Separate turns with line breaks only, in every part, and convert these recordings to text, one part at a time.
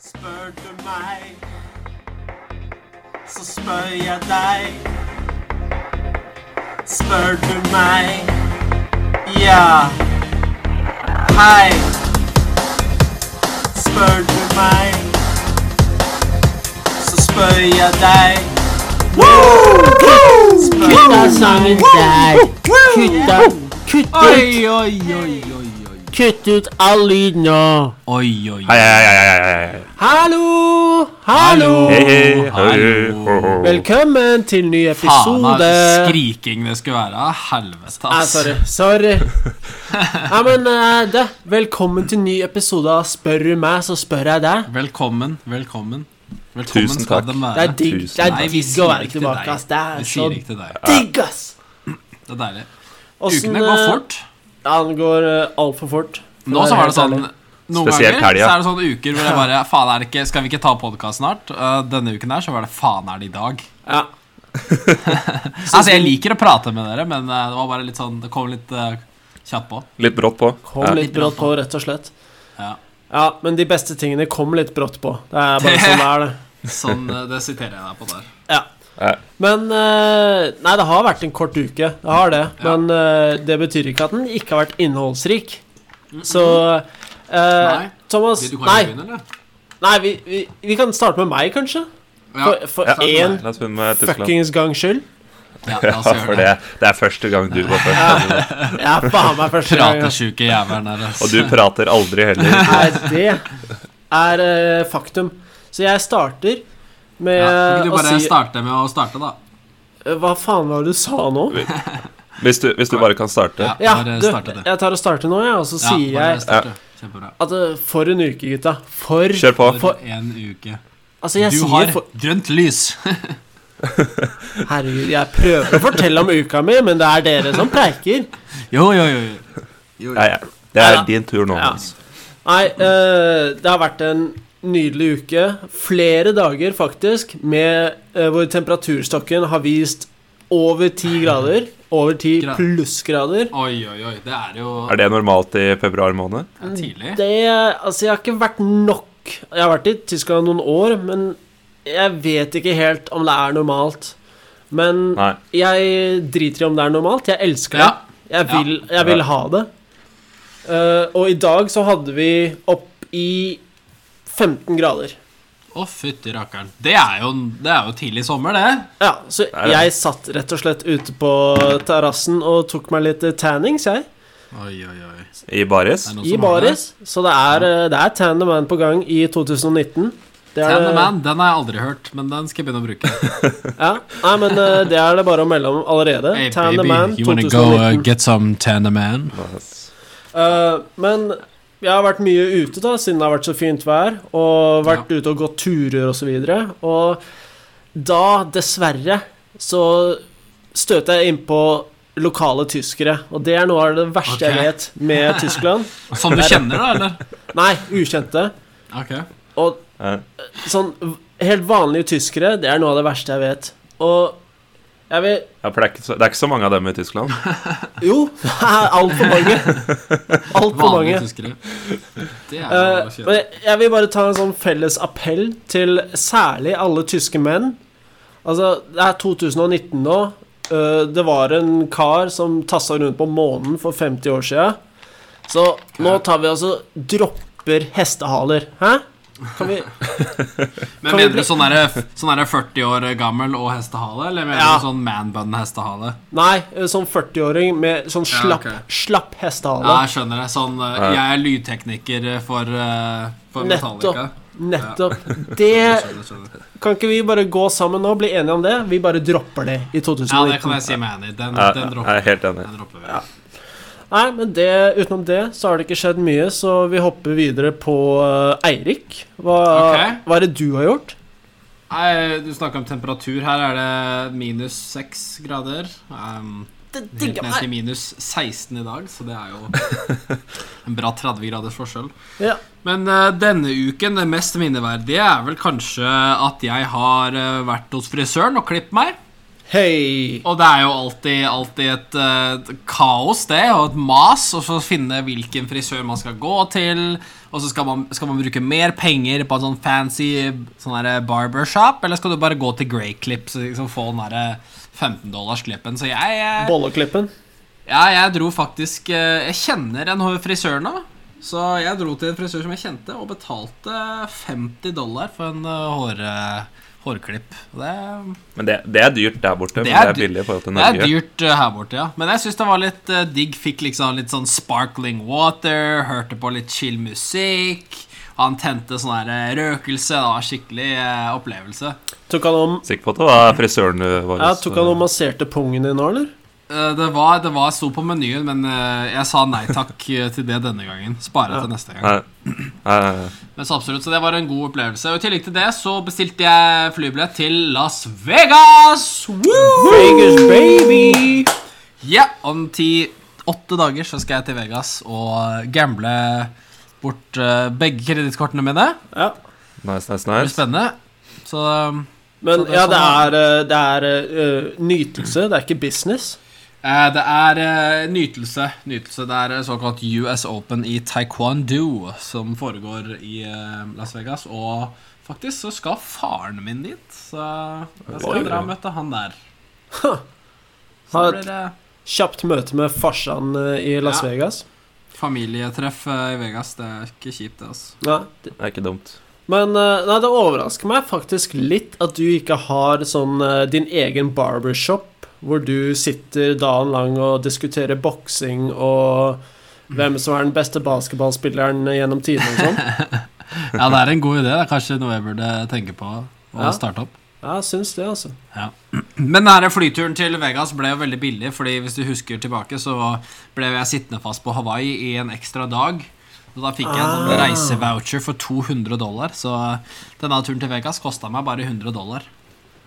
Spør du meg, så spør jeg deg. Spør du meg, ja. Hei. Spør du meg, så spør jeg deg.
Kutt av sangen der. Kutt av Kutt ut,
Oi, oi, oi, oi, oi.
er kutt ut all lyd nå.
Oi, oi.
Hei, hei, hei, hei, hei, hei.
Hallo! Hallo!
Hei, hei,
Hallo.
ho, ho, ho.
Velkommen til ny
Faen av
episode.
skriking det skulle være. Helvete,
Ah,
ass.
sorry. Sorry. Ja, men eh, det. Velkommen til ny episode av Spør du meg, så spør jeg deg.
Velkommen, velkommen. Velkommen
Tusen
skal
takk.
den være.
Det er digg
Tusen
det er
Nei, vi
digg å
sier
være
ikke til
tilbake,
deg.
ass. Det er
Vi
så
sier ikke til deg.
digg, ass.
Det er deilig.
Åssen,
Ukene går
eh,
fort.
Ja, den går eh, altfor fort. For å
Nå så
være
var det
helt
sånn
ærlig.
Noen
Spesielt
ganger
helga.
så er det sånne uker hvor jeg bare Faen, er det ikke Skal vi ikke ta podkast snart? Eh, denne uken her så var det faen er det i dag.
Ja.
Altså, jeg liker å prate med dere, men eh, det var bare litt sånn Det kom litt eh, kjapt på.
Litt brått på.
Kom
Ja.
litt brått på, rett og slett.
Ja.
Ja, men de beste tingene kom litt brått på. Det er bare sånn det er, det.
Sånn, eh, det siterer jeg deg på der.
Ja.
Ja.
Men eh, Nei, det har vært en kort uke. Det har det.
Ja.
Men eh, det betyr ikke at den ikke har vært innholdsrik. Så eh,
Nei.
Thomas
Vil du kanskje
Nei,
begynne, eller?
nei vi, vi, vi kan starte med meg, kanskje?
Ja,
For- For
Ja.
én
La oss begynne med Tyskland.
fuckings gangs skyld.
ja, la
Ja,
oss
for
gjøre det.
det, det er første gang du går først.
Jeg er faen meg første gang. ass.
Pratesjuke jævelen der, ass.
Og du prater aldri heller.
Nei, det er eh, faktum. Så jeg starter med
Ja, kan ikke du
å
bare
Eh, si Eh,
starte med å starte, da?
Hva faen var det du sa nå?
Hvis du, hvis du bare kan starte.
Ja,
bare
du,
starte det.
jeg tar og starter nå, ja, og så
Ja,
sier
bare
jeg
starte. Kjempebra.
at eh, For en uke, gutta. For
Kjør på.
For-
For en uke.
Altså, jeg
Du
sier
har
for,
grønt lys.
Herregud, jeg prøver å fortelle om uka mi, men det er dere som preiker.
Jo, jo, jo. jo.
Ja, ja. Det er din tur nå.
Ja.
Hans.
Nei, eh, det har vært en nydelig uke. Flere dager, faktisk, med eh, hvor temperaturstokken har vist over ti grader. Over ti
Gra-
plussgrader.
Oi, oi, oi. Det er jo
Er det normalt i februar måned?
det er tidlig.
Det Altså, jeg har ikke vært nok Jeg har vært i Tyskland noen år, men jeg vet ikke helt om det er normalt. Men
Nei.
jeg driter i om det er normalt. Jeg elsker det.
Ja.
Jeg
Ja.
vil, jeg vil ha det. Eh, og i dag så hadde vi opp i 15 grader.
Å, fytti rakkeren. Det er jo, det er jo tidlig sommer, det.
Ja, så
er det.
jeg satt rett og slett ute på terrassen og tok meg litt eh, tannings, jeg.
Oi, oi, oi. Det
I baris?
er noen
I
som har det.
baris. Så det er, eh, det er Tan the Man på gang i 2019. Det er
Tan the
det-
Man, den har jeg aldri hørt, men den skal jeg begynne å bruke.
Ja. Nei, men eh, det er det bare å melde om allerede.
Hey,
Tan the
baby,
Man
you wanna go uh,
2019.
get some Tan the Man?
Eh, men jeg har vært mye ute, da, siden det har vært så fint vær, og vært ute og gått turer og så videre. Og da, dessverre, så støter jeg innpå lokale tyskere, og det er noe av det verste
Ok.
jeg vet med Tyskland.
Som du kjenner, da, eller?
Nei, ukjente.
Ok.
Og
Ja.
sånn v- helt vanlige tyskere, det er noe av det verste jeg vet. Og jeg vil
Ja, for det er, ikke så, det er ikke så mange av dem i Tyskland.
Jo, det er altfor mange. Altfor mange.
Vanlige tyskere.
Eh,
Det er jo
men
kjedelig.
jeg, jeg vil bare ta en sånn felles appell til særlig alle tyske menn. Altså, det er 2019 nå. Eh, det var en kar som tassa rundt på månen for 50 år sia. Så nå tar vi altså dropper hestehaler. Hæ? Kan vi
Men
kan vi
mener du
bli-
sånn derre sånn derre 40 år gammel og hestehale, eller mener
Ja.
du sånn manbun-hestehale?
Nei, eh, sånn 40-åring med sånn
Ja,
slapp,
ok.
slapp
Ja,
hestehale.
jeg skjønner det. Sånn eh,
Ja.
Jeg er lydtekniker for, eh, for
Nettopp.
Metallica.
Nettopp. Det
Skjønner, skjønner.
Kan ikke vi bare gå sammen nå, bli enige om det? Vi bare dropper det i 2019.
Ja, det kan jeg si meg enig i. Den,
Ja,
den
jeg
dropper
er helt enig.
den dropper vi.
Nei, men det, utenom det så har det ikke skjedd mye, så vi hopper videre på eh, Eirik. Hva,
Ok.
hva er det du har gjort?
Nei, du snakker om temperatur. Her er det minus 6 grader. Um,
Det
helt ned til minus 16 i dag, så det er jo en bra 30 graders forskjell.
Ja.
Men eh, denne uken, det mest minneverdige, er vel kanskje at jeg har eh, vært hos frisøren og klippet meg.
Hei!
Og det er jo alltid, alltid et eh, kaos, det, og et mas, og så finne hvilken frisør man skal gå til. Og så skal man, skal man bruke mer penger på en sånn fancy sånn der barbershop, eller skal du bare gå til Grey Clips og liksom få den derre 15 dollars-klippen? Så jeg, eh,
Bolleklippen.
ja, jeg dro faktisk eh, Jeg kjenner en frisør nå. Så jeg dro til en frisør som jeg kjente, og betalte 50 dollar for en eh, hår, eh, hårklipp. Det,
Men det, det er dyrt der borte, men
er
det er
dyrt.
billig i forhold til
det er
Norge.
dyrt eh, her borte, ja. Men jeg syns det var litt eh, digg. Fikk liksom litt sånn sparkling water, hørte på litt chill musikk. Han tente sånn her eh, røkelse. Det var skikkelig eh, opplevelse.
Tok han om
Sikker på at det var frisøren eh, du var
Altså-
ja, Tok han og masserte pungen din nå, eller?
Eh, Det var, det var sto på menyen, men eh, jeg sa nei takk eh, til det denne gangen. Spare til neste gang.
Nei. Nei.
Men så absolutt, så det var en god opplevelse. Og I tillegg til det så bestilte jeg flybillett til Las Vegas! Woo!
Vegas, baby!
Ja, om ti-åtte dager så skal jeg til Vegas og gamble bort eh, begge kredittkortene mine.
Ja.
Nice, nice,
Det blir
nice.
spennende. Så um,
Men
Så det er
ja, det
sånn
er, eh, det er eh, nytelse, det er ikke business.
eh, det er eh, nytelse. Nytelse. Det er eh, såkalt US Open i taekwondo som foregår i eh, Las Vegas. Og faktisk så skal faren min dit, så jeg
Oi.
skal dra og møte han der. Så
Ha
blir
et
det
kjapt møte med farsan eh, i Las
Ja.
Vegas.
Familietreff eh, i Vegas, det er ikke kjipt, det, altså.
Ja.
Det er ikke dumt.
Men eh, nei, det overrasker meg faktisk litt at du ikke har sånn eh, din egen barbershop, hvor du sitter dagen lang og diskuterer boksing og hvem som er den beste basketballspilleren gjennom tidene og sånn.
Ja, det er en god idé. Det er kanskje noe jeg burde tenke på å
Ja.
starte opp.
Ja, jeg syns det, altså.
Men denne flyturen til Vegas ble jo veldig billig, fordi hvis du husker tilbake, så ble jeg sittende fast på Hawaii i en ekstra dag. Og da fikk jeg en sånn
Ah.
reisevoucher for 200 dollar, så denne turen til Vegas kosta meg bare 100 dollar.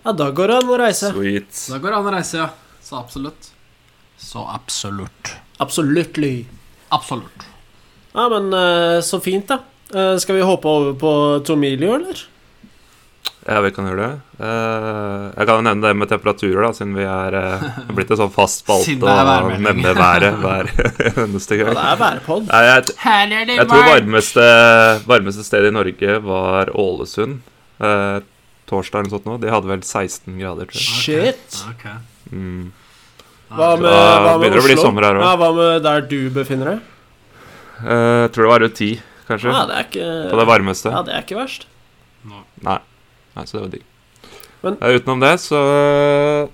Ja, da går det an å reise.
Sweet.
Så da går det an å reise, ja. Så absolutt. Så absolutt.
Absolutely.
Absolutt.
Ja, men eh, så fint, da. Eh, skal vi hoppe over på Tomilio, eller?
Ja, vi kan gjøre det. Eh, jeg kan jo nevne det med temperaturer, da, siden vi er eh, blitt en sånn fast
Siden
spalte
det er
og
værmelding.
nevner været hver eneste
Ja,
gang.
det er værpod.
Nei, jeg,
Her er det
jeg tror varmeste, varmeste sted i Norge var Ålesund. Eh, torsdag eller noe sånt nå. De hadde vel 16 grader, tror jeg.
Shit.
Ok.
Mm.
Hva med,
Da
hva med
begynner det å bli
Oslo?
sommer her også.
Ja, hva med der du befinner deg?
Eh, tror det var rundt 10, kanskje.
Ja, det er
På det
ikke,
varmeste.
ja, det er ikke verst.
Nei, så det var digg.
Men-
Eh, utenom det så eh,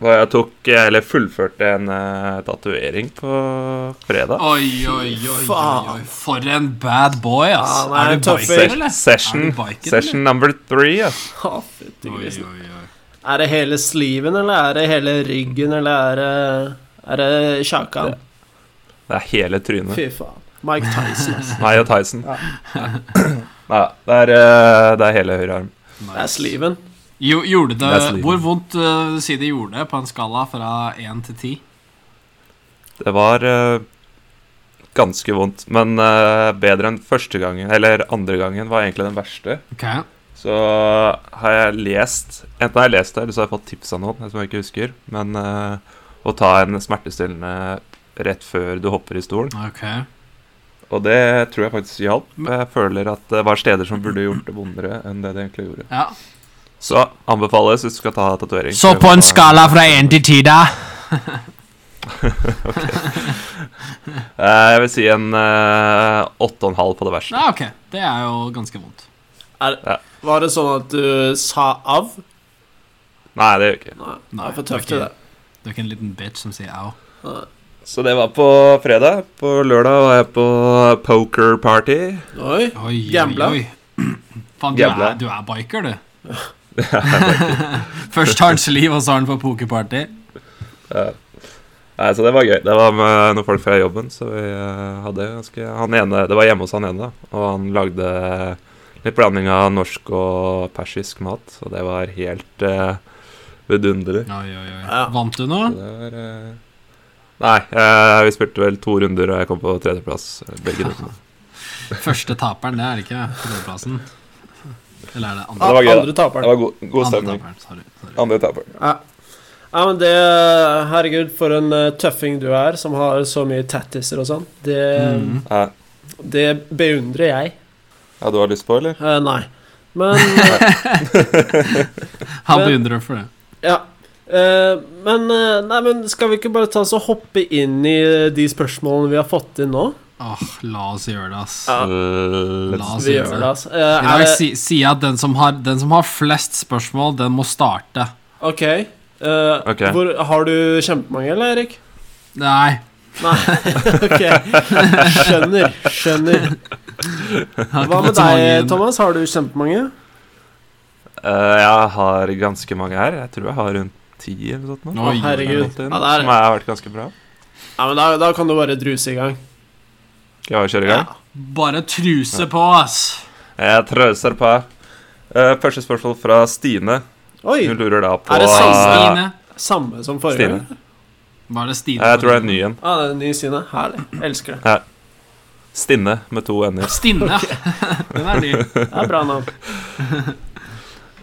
var jeg tok Eller fullførte en uh, tatovering på fredag.
Oi, oi, oi, oi, oi.
Faen.
For en bad boy, ass.
Ja, han er
er
en
du biker,
tøffing.
eller?
Session,
Er du biker,
session number three. Ja.
Å, fytti
eller? Oi,
grisen.
oi, oi.
Er det hele sliven, eller er det hele ryggen, eller er det er det kjakan?
Det er hele trynet.
Fy faen. Mike Tyson, altså.
Meg og Tyson.
Ja.
Nei, det er, eh, det er hele høyre arm.
Det er sliven.
Jo, gjorde det,
Det er sliven.
Hvor vondt uh, si det gjorde på en skala fra 1 til 10?
Det var eh, ganske vondt, men eh, bedre enn første gangen. Eller andre gangen var egentlig den verste.
Ok,
Så eh, har jeg lest Enten har jeg lest det, eller så har jeg fått tips av noen som jeg ikke husker. Men eh, å ta en smertestillende rett før du hopper i stolen.
ok
Og det tror jeg faktisk hjalp.
Men-
Jeg føler at det var steder som burde gjort det vondere enn det det egentlig gjorde.
ja.
Så anbefales hvis du skal ta tatovering.
Så på en skala fra 1 til 10, da?
Eh, Jeg vil si en eh, åtte og en halv på det verste.
Ja, ok, Det er jo ganske vondt.
Var det sånn at du sa av?
Nei, det gjør jeg ikke.
Nei, det
Nei,
er for
det er
tøft til
ikke-
det.
Du er ikke en liten bitch som sier au.
Så det var på fredag. På lørdag var jeg på poker-party.
Oi.
Oi, oi,
Gambla.
oi. Faen, du,
Gambla.
er- du er biker, du. Først tar han sliv, og så har han på pokerparty.
Ja. Nei, så det var gøy. Det var med noen folk fra jobben, så vi eh, hadde ganske han ene, Det var hjemme hos han ene, da, og han lagde litt blanding av norsk og persisk mat, og det var helt eh, vidunderlig.
Oi, oi, oi.
Ja.
Vant du
Så
noe?
det var eh, Nei, eh, vi spilte vel to runder, og jeg kom på tredjeplass eh, begge to.
Første taperen, det er det ikke tredjeplassen. Eller er det
Ja,
andre?
var gøy, da.
Ah, Andre
Det
taperen.
var god, god
andre
stemning.
taperen, sorry, sorry.
Andre taper.
Ja. Ja, men det Herregud, for en eh, tøffing du er, som har så mye tattiser og sånn. Det,
Mm.
Ja.
det beundrer jeg.
Eh, ja, du har lyst på, eller?
Eh, nei. Men eh,
Han
Men-
beundrer for det.
Ja. Eh, men eh, Nei, men skal vi ikke bare ta oss og hoppe inn i eh, de spørsmålene vi har fått inn nå?
Åh, la oss gjøre det, ass.
Ja.
L-
La oss
Vi
gjøre
gjør det,
det.
altså. Eh,
I dag
er det
si- sier jeg at den som, har, den som har flest spørsmål, den må starte.
OK. eh,
Ok.
Hvor, har du kjempemange, eller, Erik?
Nei.
Nei. OK. Skjønner. Skjønner.
jeg har ikke
Hva med
fått så mange
deg,
inn.
Thomas? Har du kjempemange?
Eh, jeg har ganske mange her. Jeg tror jeg har rundt ti eller noe sånt. nå.
Oi,
Å, herregud.
Som
Ja, det er-
har vært ganske bra.
Ja, men da, da kan du bare druse i gang.
Skal jeg kjøre i gang?
Bare truse på, ass.
Jeg trøser på. Eh, første spørsmål fra Stine.
Oi!
Hun lurer da på
Er det sant,
eh,
Stine.
Samme som forrige
Stine.
gang?
Var det Stine?
Ja, Jeg tror det er en ny en.
Ja, det er en ny side. Herlig. Elsker det.
Stinne med to n-er.
Stinne. den er ny.
Det er bra navn.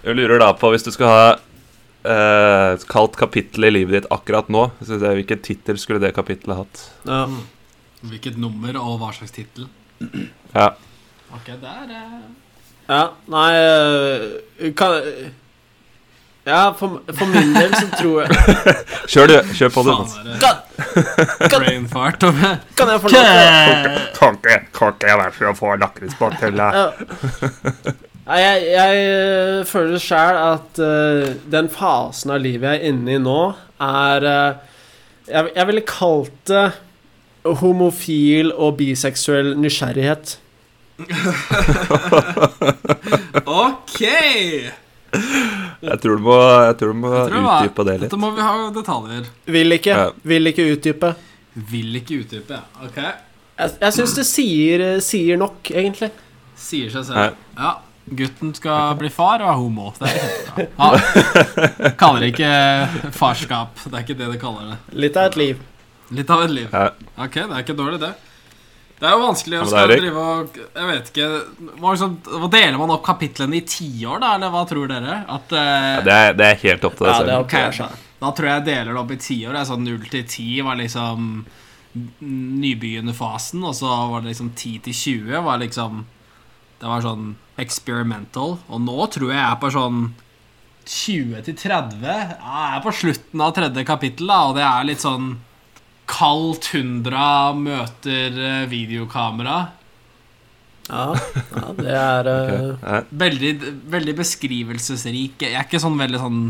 Hun lurer da på hvis du skal ha eh, et kaldt kapittel i livet ditt akkurat nå, så sier jeg, hvilken tittel skulle det kapittelet hatt?
Ja.
Mm. Hvilket nummer og hva slags tittel?
Ja.
Ok, der eh,
ja. Nei øh, kan, Ja, for, for min del så tror jeg
Kjør, du. Kjør på, du.
faen
Mats.
er det
Kan,
brain fart. over.
kan jeg få lov til å-
Ok.
ja. Nei, jeg, jeg øh, føler sjæl at øh, den fasen av livet jeg er inne i nå, er øh, jeg, jeg ville kalt det homofil og biseksuell nysgjerrighet.
Ok!
Jeg tror du må, jeg tror du må
Jeg tror det var-
utdype det litt.
Dette må vi ha detaljer.
Vil ikke.
Ja.
Vil ikke utdype.
Vil ikke utdype. Ok,
Jeg, jeg syns det sier, eh, sier nok, egentlig.
Sier seg
Nei.
selv. Ja. Gutten skal bli far og er homo. Det er kjempebra. Han kaller det ikke farskap. Det er ikke det de kaller det.
Litt av et liv.
Litt av et liv.
Ja.
Ok, det er ikke dårlig, det. Det er jo vanskelig
Ja,
å
men
skal
det er det.
drive og Jeg vet ikke hva liksom, hva Deler man opp kapitlene i tiår, da, eller hva tror dere? At eh,
Det er, det er helt opp til deg
Ja, det er
selv.
opp
ok,
til deg selv.
Da tror jeg jeg deler det opp i tiår. det er Sånn null til ti var liksom nybegynnerfasen, og så var det liksom ti til 20 var liksom Det var sånn experimental. Og nå tror jeg jeg er på sånn 20 til 30. Ja, Jeg er på slutten av tredje kapittel, da, og det er litt sånn Kald tundra møter eh, videokamera.
Ja, ja det er eh,
Ok, ja.
Veldig, veldig beskrivelsesrik. Jeg er ikke sånn veldig sånn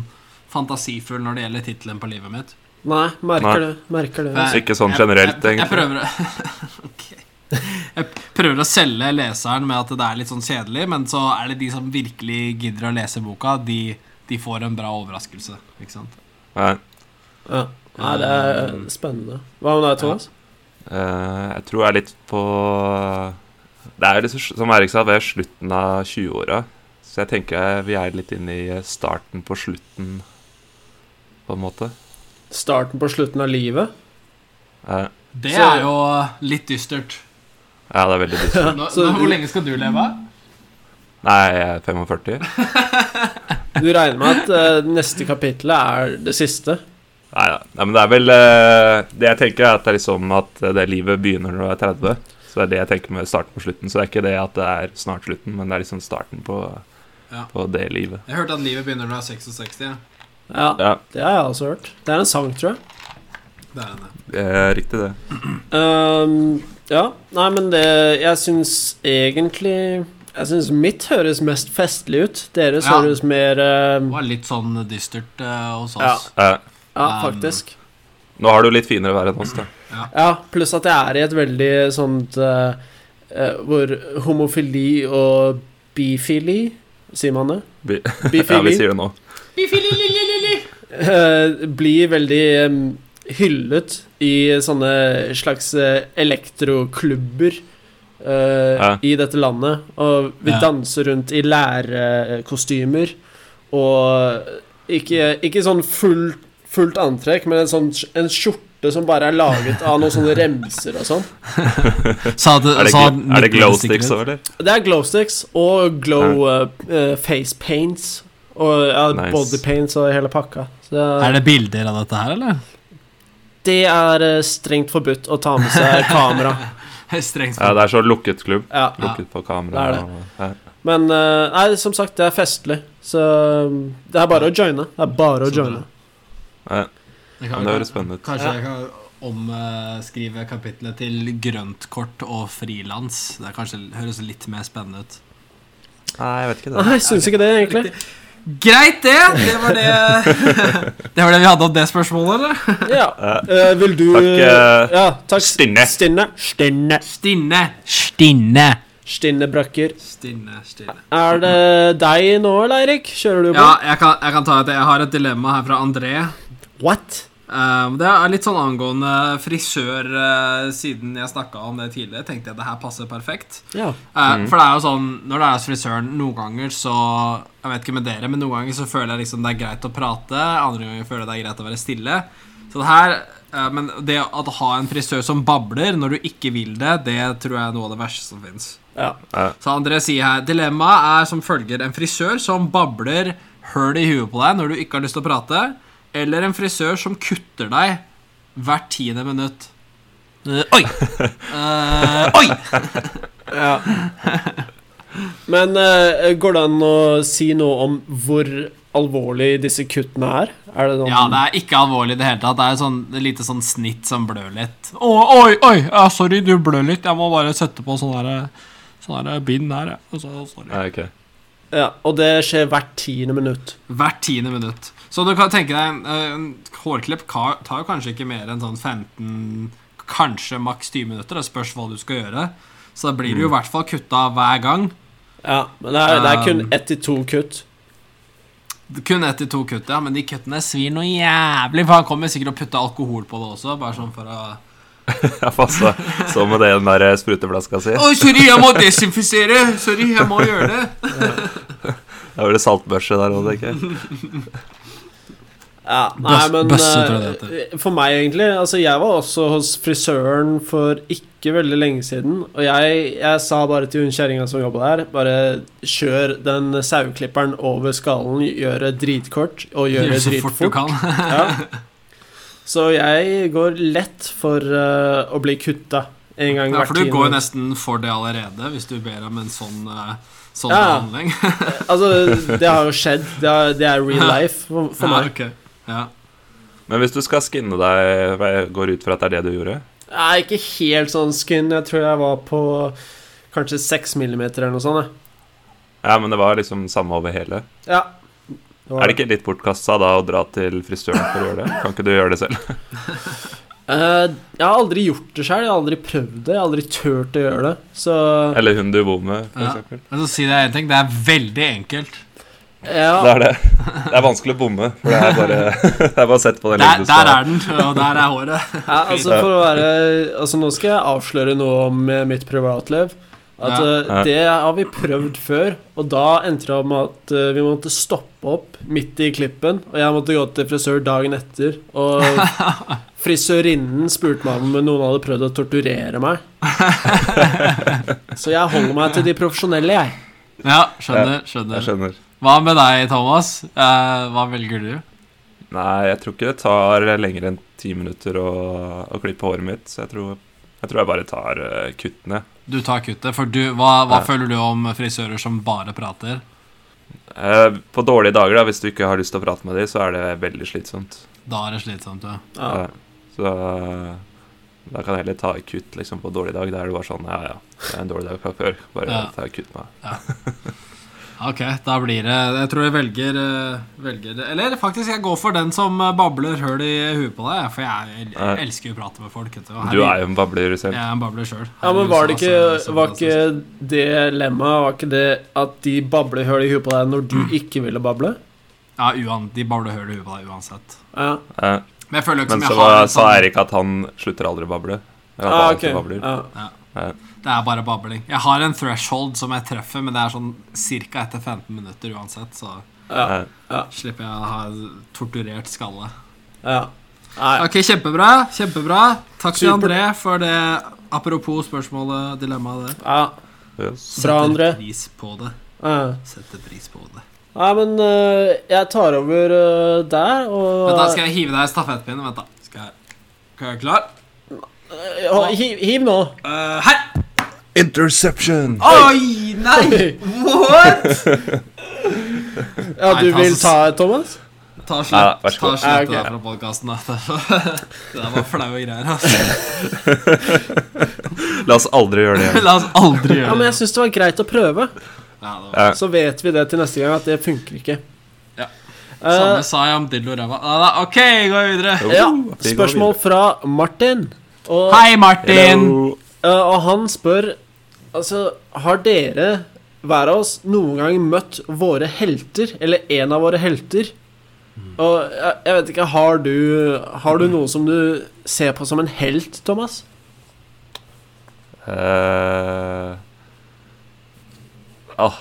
fantasifull når det gjelder tittelen på livet mitt.
Nei, merker
Nei.
det. Merker det.
Så
Nei,
ikke sånn
jeg-
generelt,
jeg, jeg
egentlig.
prøver, å- Ok. jeg prøver å selge leseren med at det er litt sånn kjedelig, men så er det de som virkelig gidder å lese boka, de, de får en bra overraskelse. Ikke sant?
Ja.
Ja. Nei, det er eh, spennende. Hva med deg, Thomas?
Eh, jeg tror jeg er litt på Det er jo liksom, som Erik sa, ved slutten av 20-åra. Så jeg tenker vi er litt inne i starten på slutten, på en måte.
Starten på slutten av livet.
Eh,
Det
Så-
er jo litt dystert.
ja, det er veldig dyrt.
Nå,
Så
nå, hvor
du,
lenge skal du leve?
Nei, jeg er 45.
du regner med at eh, neste kapittel er det siste?
Nei da. Nei, men det er vel eh, Det jeg tenker, er at det er liksom at det livet begynner når du er 30. Så det er det jeg tenker med starten på slutten. Så det er ikke det at det er snart slutten, men det er liksom starten på,
Ja.
på det livet.
Jeg hørte at livet begynner når du er 66. ja.
Ja,
Ja,
det har jeg også hørt. Det er en sang, tror jeg.
Det er det.
det er eh, riktig, det.
Ehm, ja. Nei, men det Jeg syns egentlig Jeg syns mitt høres mest festlig ut. Deres
Ja.
høres mer ehm,
Det var litt sånn dystert eh, hos
Ja.
oss.
Eh,
Ja,
Um,
faktisk.
nå har du litt finere vær enn oss, da.
Ja, pluss at jeg er i et veldig sånt eh, eh, Hvor homofili og bifili Sier man det?
Bi- Ja, vi
Bifili
sier det nå.
eh, blir veldig em, hyllet i sånne slags eh, elektroklubber eh,
Ja.
i dette landet. Og vi
Ja.
danser rundt i lærerkostymer og ikke, ikke sånn full, fullt antrekk, men en, sånn, sk- en skjorte som bare er laget av noen sånne remser og sånn.
Sa det,
Er det,
sa
gl- er det
Niklas
glow
ikke
sticks
det?
òg, eller?
Det er glow sticks og glow eh, eh, face paints. Og ja,
Nice.
body paints og hele pakka. Så Det er,
Er det bilder av dette her, eller?
det er eh, strengt forbudt å ta med seg kamera.
Strengt
Ja, det er så lukket klubb.
Ja.
Lukket på kamera.
Det er
og- ja.
Men eh, nei, som sagt, det er festlig, så um, det er bare å joine. Det er bare å
Så
joine.
Ja,
Det
men det høres spennende ut.
Kanskje
Ja.
jeg kan omskrive kapitlet til grøntkort og frilans. Det er kanskje høres litt mer spennende ut.
Nei, jeg vet ikke det.
Nei, jeg syns ikke det, egentlig.
Greit, det! Det var det Det var det vi hadde om det spørsmålet, eller?
Ja.
Ja.
Eh, vil du
Takk, eh,
ja, takk.
Stinne.
Stinne. Stinne.
Stinne. Stinne.
Stinne Brøkker.
Stinne, stille.
Er det deg nå, eller, Eirik? Kjører du på?
Ja, jeg kan, jeg kan ta et Jeg har et dilemma her fra André.
What?
Um, det er litt sånn angående frisør eh, Siden jeg snakka om det tidligere, tenkte jeg det her passer perfekt.
Ja.
Eh, For det er jo sånn, når du er hos frisøren Noen ganger så Jeg vet ikke med dere, men noen ganger så føler jeg liksom det er greit å prate Andre ganger føler jeg det er greit å være stille Så det her eh, Men det at å ha en frisør som babler Når du ikke vil det, det tror jeg er noe av det verste som finnes
ja.
Så André sier her Dilemmaet er som følger En frisør som babler høl i huet på deg Når du ikke har lyst til å prate Eller en frisør som kutter deg Hvert tiende minutt Eh, Oi! Eh, oi!
Men eh, går det an å si noe om hvor alvorlig disse kuttene er? Er det noen
Ja, det er ikke alvorlig i det hele tatt. Det er sånn, et lite sånn snitt som blør litt. Å, oi, oi! Ja, sorry, du blør litt. Jeg må bare sette på sånn derre sånn der bind her, jeg. Og så- sorry.
Nei, ok.
ja, Og det skjer hvert tiende minutt.
Hvert tiende minutt. Så du kan tenke deg en, en hårklipp ka- tar jo kanskje ikke mer enn sånn 15, kanskje maks 20 minutter. Det spørs hva du skal gjøre. Så da blir du jo i
Mm.
hvert fall kutta hver gang.
Ja, Men det er, det er kun
Um,
ett til to kutt.
Kun ett til to kutt, ja. Men de kuttene svir noe jævlig. For han kommer sikkert og putter alkohol på det også, bare sånn for å
Ja, fast, da. Så med det den der eh, spruteflaska si.
Oi, sorry, jeg må desinfisere! Sorry, jeg må gjøre det.
Da blir det saltbørse der òg, ikke
Ja, nei,
Bøss-
men
bøsse, tror jeg det
eh, For meg, egentlig. Altså, jeg var også hos frisøren for ikke veldig lenge siden. Og jeg, jeg sa bare til hun kjerringa som jobba der, bare kjør den saueklipperen over skallen, gjør det dritkort, og gjør det
så fort du
dritfort.
kan.
Ja. Så jeg går lett for eh, å bli kutta en gang
Ja,
hvert
for du går jo
tiende.
nesten for det allerede, hvis du ber om en sånn, eh, sånn
Ja.
behandling.
Altså, det har jo skjedd. Det, er- det er real life for, for
ja,
meg.
ok. ja.
Men hvis du skal skinne deg, hva jeg går ut fra at det er det du gjorde?
Nei, ikke helt sånn skin. Jeg tror jeg var på kanskje 6 millimeter eller noe sånt. jeg.
Ja, men det var liksom samme over hele.
Ja. Det var
Er det ikke litt bortkasta da å dra til frisøren for å gjøre det? Kan ikke du gjøre det selv?
Eh, jeg har aldri gjort det sjøl. Jeg har aldri prøvd det. Jeg har aldri turt å gjøre det. Så
Eller hun du bor med, for
Ja.
eksempel.
Men så si deg en ting, det er veldig enkelt.
Det
ja.
er det. Det er vanskelig å bomme, for det er bare, det er bare å sette på den
Der,
lille
der er den, og der er håret.
ja altså, for å være Altså, nå skal jeg avsløre noe om eh, mitt privatliv. At
Ja.
eh, det har vi prøvd før, og da endte det med at eh, vi måtte stoppe opp midt i klippen, og jeg måtte gå til frisør dagen etter, og frisørinnen spurte meg om noen hadde prøvd å torturere meg. Så jeg holder meg til de profesjonelle, jeg.
Ja, skjønner,
Jeg
skjønner.
skjønner.
Hva med deg, Thomas? Eh, hva velger du?
Nei, jeg tror ikke det tar lenger enn ti minutter å, å klippe håret mitt, så jeg tror jeg, tror jeg bare tar eh, kuttene.
Du tar kuttet, for du, hva, hva
Ja.
føler du om frisører som bare prater?
Eh, på dårlige dager, da, hvis du ikke har lyst til å prate med dem, så er det veldig slitsomt.
Da er det slitsomt, ja.
Ja.
Eh, så eh, da kan jeg heller ta et kutt liksom, på dårlig dag. Da er det bare sånn Ja, ja, det er en dårlig dag fra før. Bare
Ja.
ta et kutt med meg.
Ok, da blir det Jeg tror jeg velger, eh, velger Eller faktisk, jeg går for den som eh, babler høl i huet på deg. For jeg,
Ja.
jeg elsker jo å prate med folk. Vet du, og
Du
her-
er jo en babler selv.
Jeg er en babler sjøl.
Ja, men var det
altså,
ikke, var ikke dilemmaet Var ikke det at de babler høl i huet på deg når du ikke ville bable?
Ja, uan, De babler høl i huet på deg uansett.
Ja,
Eh,
Men jeg føler jo ikke
men
som
så
jeg har
var,
en
sa
sånn-
Eirik at han slutter aldri å bable. Eller at
ah,
han
ok.
alltid babler.
Ja.
Det er bare babling. Jeg har en threshold som jeg treffer, men det er sånn ca. etter 15 minutter uansett, så
Ja.
Eh,
slipper jeg å ha torturert skalle.
ja. Nei.
Ok, kjempebra. Kjempebra. Takk til
Super.
André for det apropos spørsmålet, dilemmaet der.
Ja.
yes.
Bra, André.
Setter pris på det.
Ja.
Setter pris på det.
Nei, men eh, jeg tar over eh, der, og
Vent da, skal jeg hive deg i stafettpinnen? Vent, da. Skal jeg Skal jeg være klar?
Eh, ja, hiv, hiv nå.
Eh, her!
Interception!
Oi! Nei! What?!
Ja,
Nei,
du
ta
vil
så-
ta, Thomas?
Ta og
Nei,
slett,
vær så
ta
god.
og slett
Ja, ok.
det der fra podkasten. Det der var flaue greier. Altså.
La oss aldri gjøre det igjen.
La oss aldri
Ja,
gjøre
men
det.
jeg syns det var greit å prøve.
Ja, det var.
Ja.
Så vet vi det til neste gang at det funker ikke.
Ja.
Eh,
Samme sa jeg om dildo og ræva. Nei, nei, OK, gå videre.
Jo,
ja,
vi går
spørsmål fra Martin. Og,
Hei, Martin.
Hello.
eh, og han spør Altså, har dere hver av oss noen gang møtt våre helter, eller en av våre helter?
Mm.
Og jeg, jeg vet ikke, har du, har du noe som du ser på som en helt, Thomas?
Eh, ah,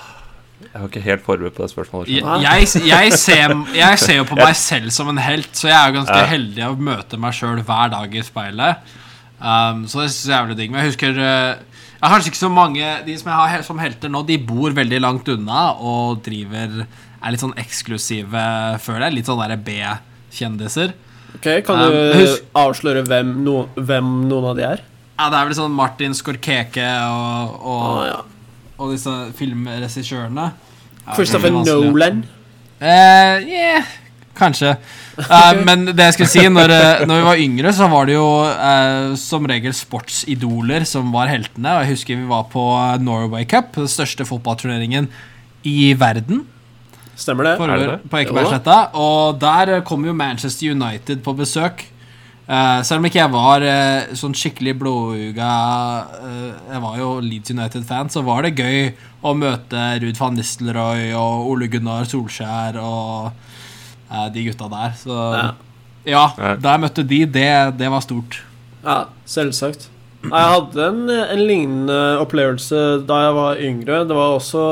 jeg var ikke helt forberedt på det spørsmålet. skjønner
Jeg, jeg- jeg, ser, jeg ser jo på meg selv som en helt, så jeg er jo ganske heldig å møte meg sjøl hver dag i speilet. Um, så det synes jeg er jævlig digg. Men jeg husker eh, jeg har kanskje ikke så mange De som jeg har he- som helter nå, de bor veldig langt unna og driver er litt sånn eksklusive, føler jeg. Litt sånn derre B-kjendiser.
Ok, Kan
Um,
du
husk-
avsløre hvem, no, hvem noen av de er?
Ja, det er vel sånn Martin Skorkeke og, og,
Å, ja.
og disse filmregissørene. Ja,
Christopher
veldig vanskelig.
Nolan.
Eh, yeah, kanskje. Eh, men det jeg skulle si, når, eh, når vi var yngre, så var det jo eh, som regel sportsidoler som var heltene. Og jeg husker vi var på Norway Cup, den største fotballturneringen i verden.
Stemmer det?
Foregår
det?
på Ekebergsletta. Og der kom jo Manchester United på besøk. Eh, selv om ikke jeg var eh, sånn skikkelig blåuga eh, Jeg var jo Leeds United-fan, så var det gøy å møte Ruud van Nistelrooy og Ole Gunnar Solskjær og eh, de gutta der. Så ja,
Ja.
Ja.
der møtte de. Det, det var stort.
Ja, selvsagt. Nei, Jeg hadde en, en lignende opplevelse da jeg var yngre. Det var også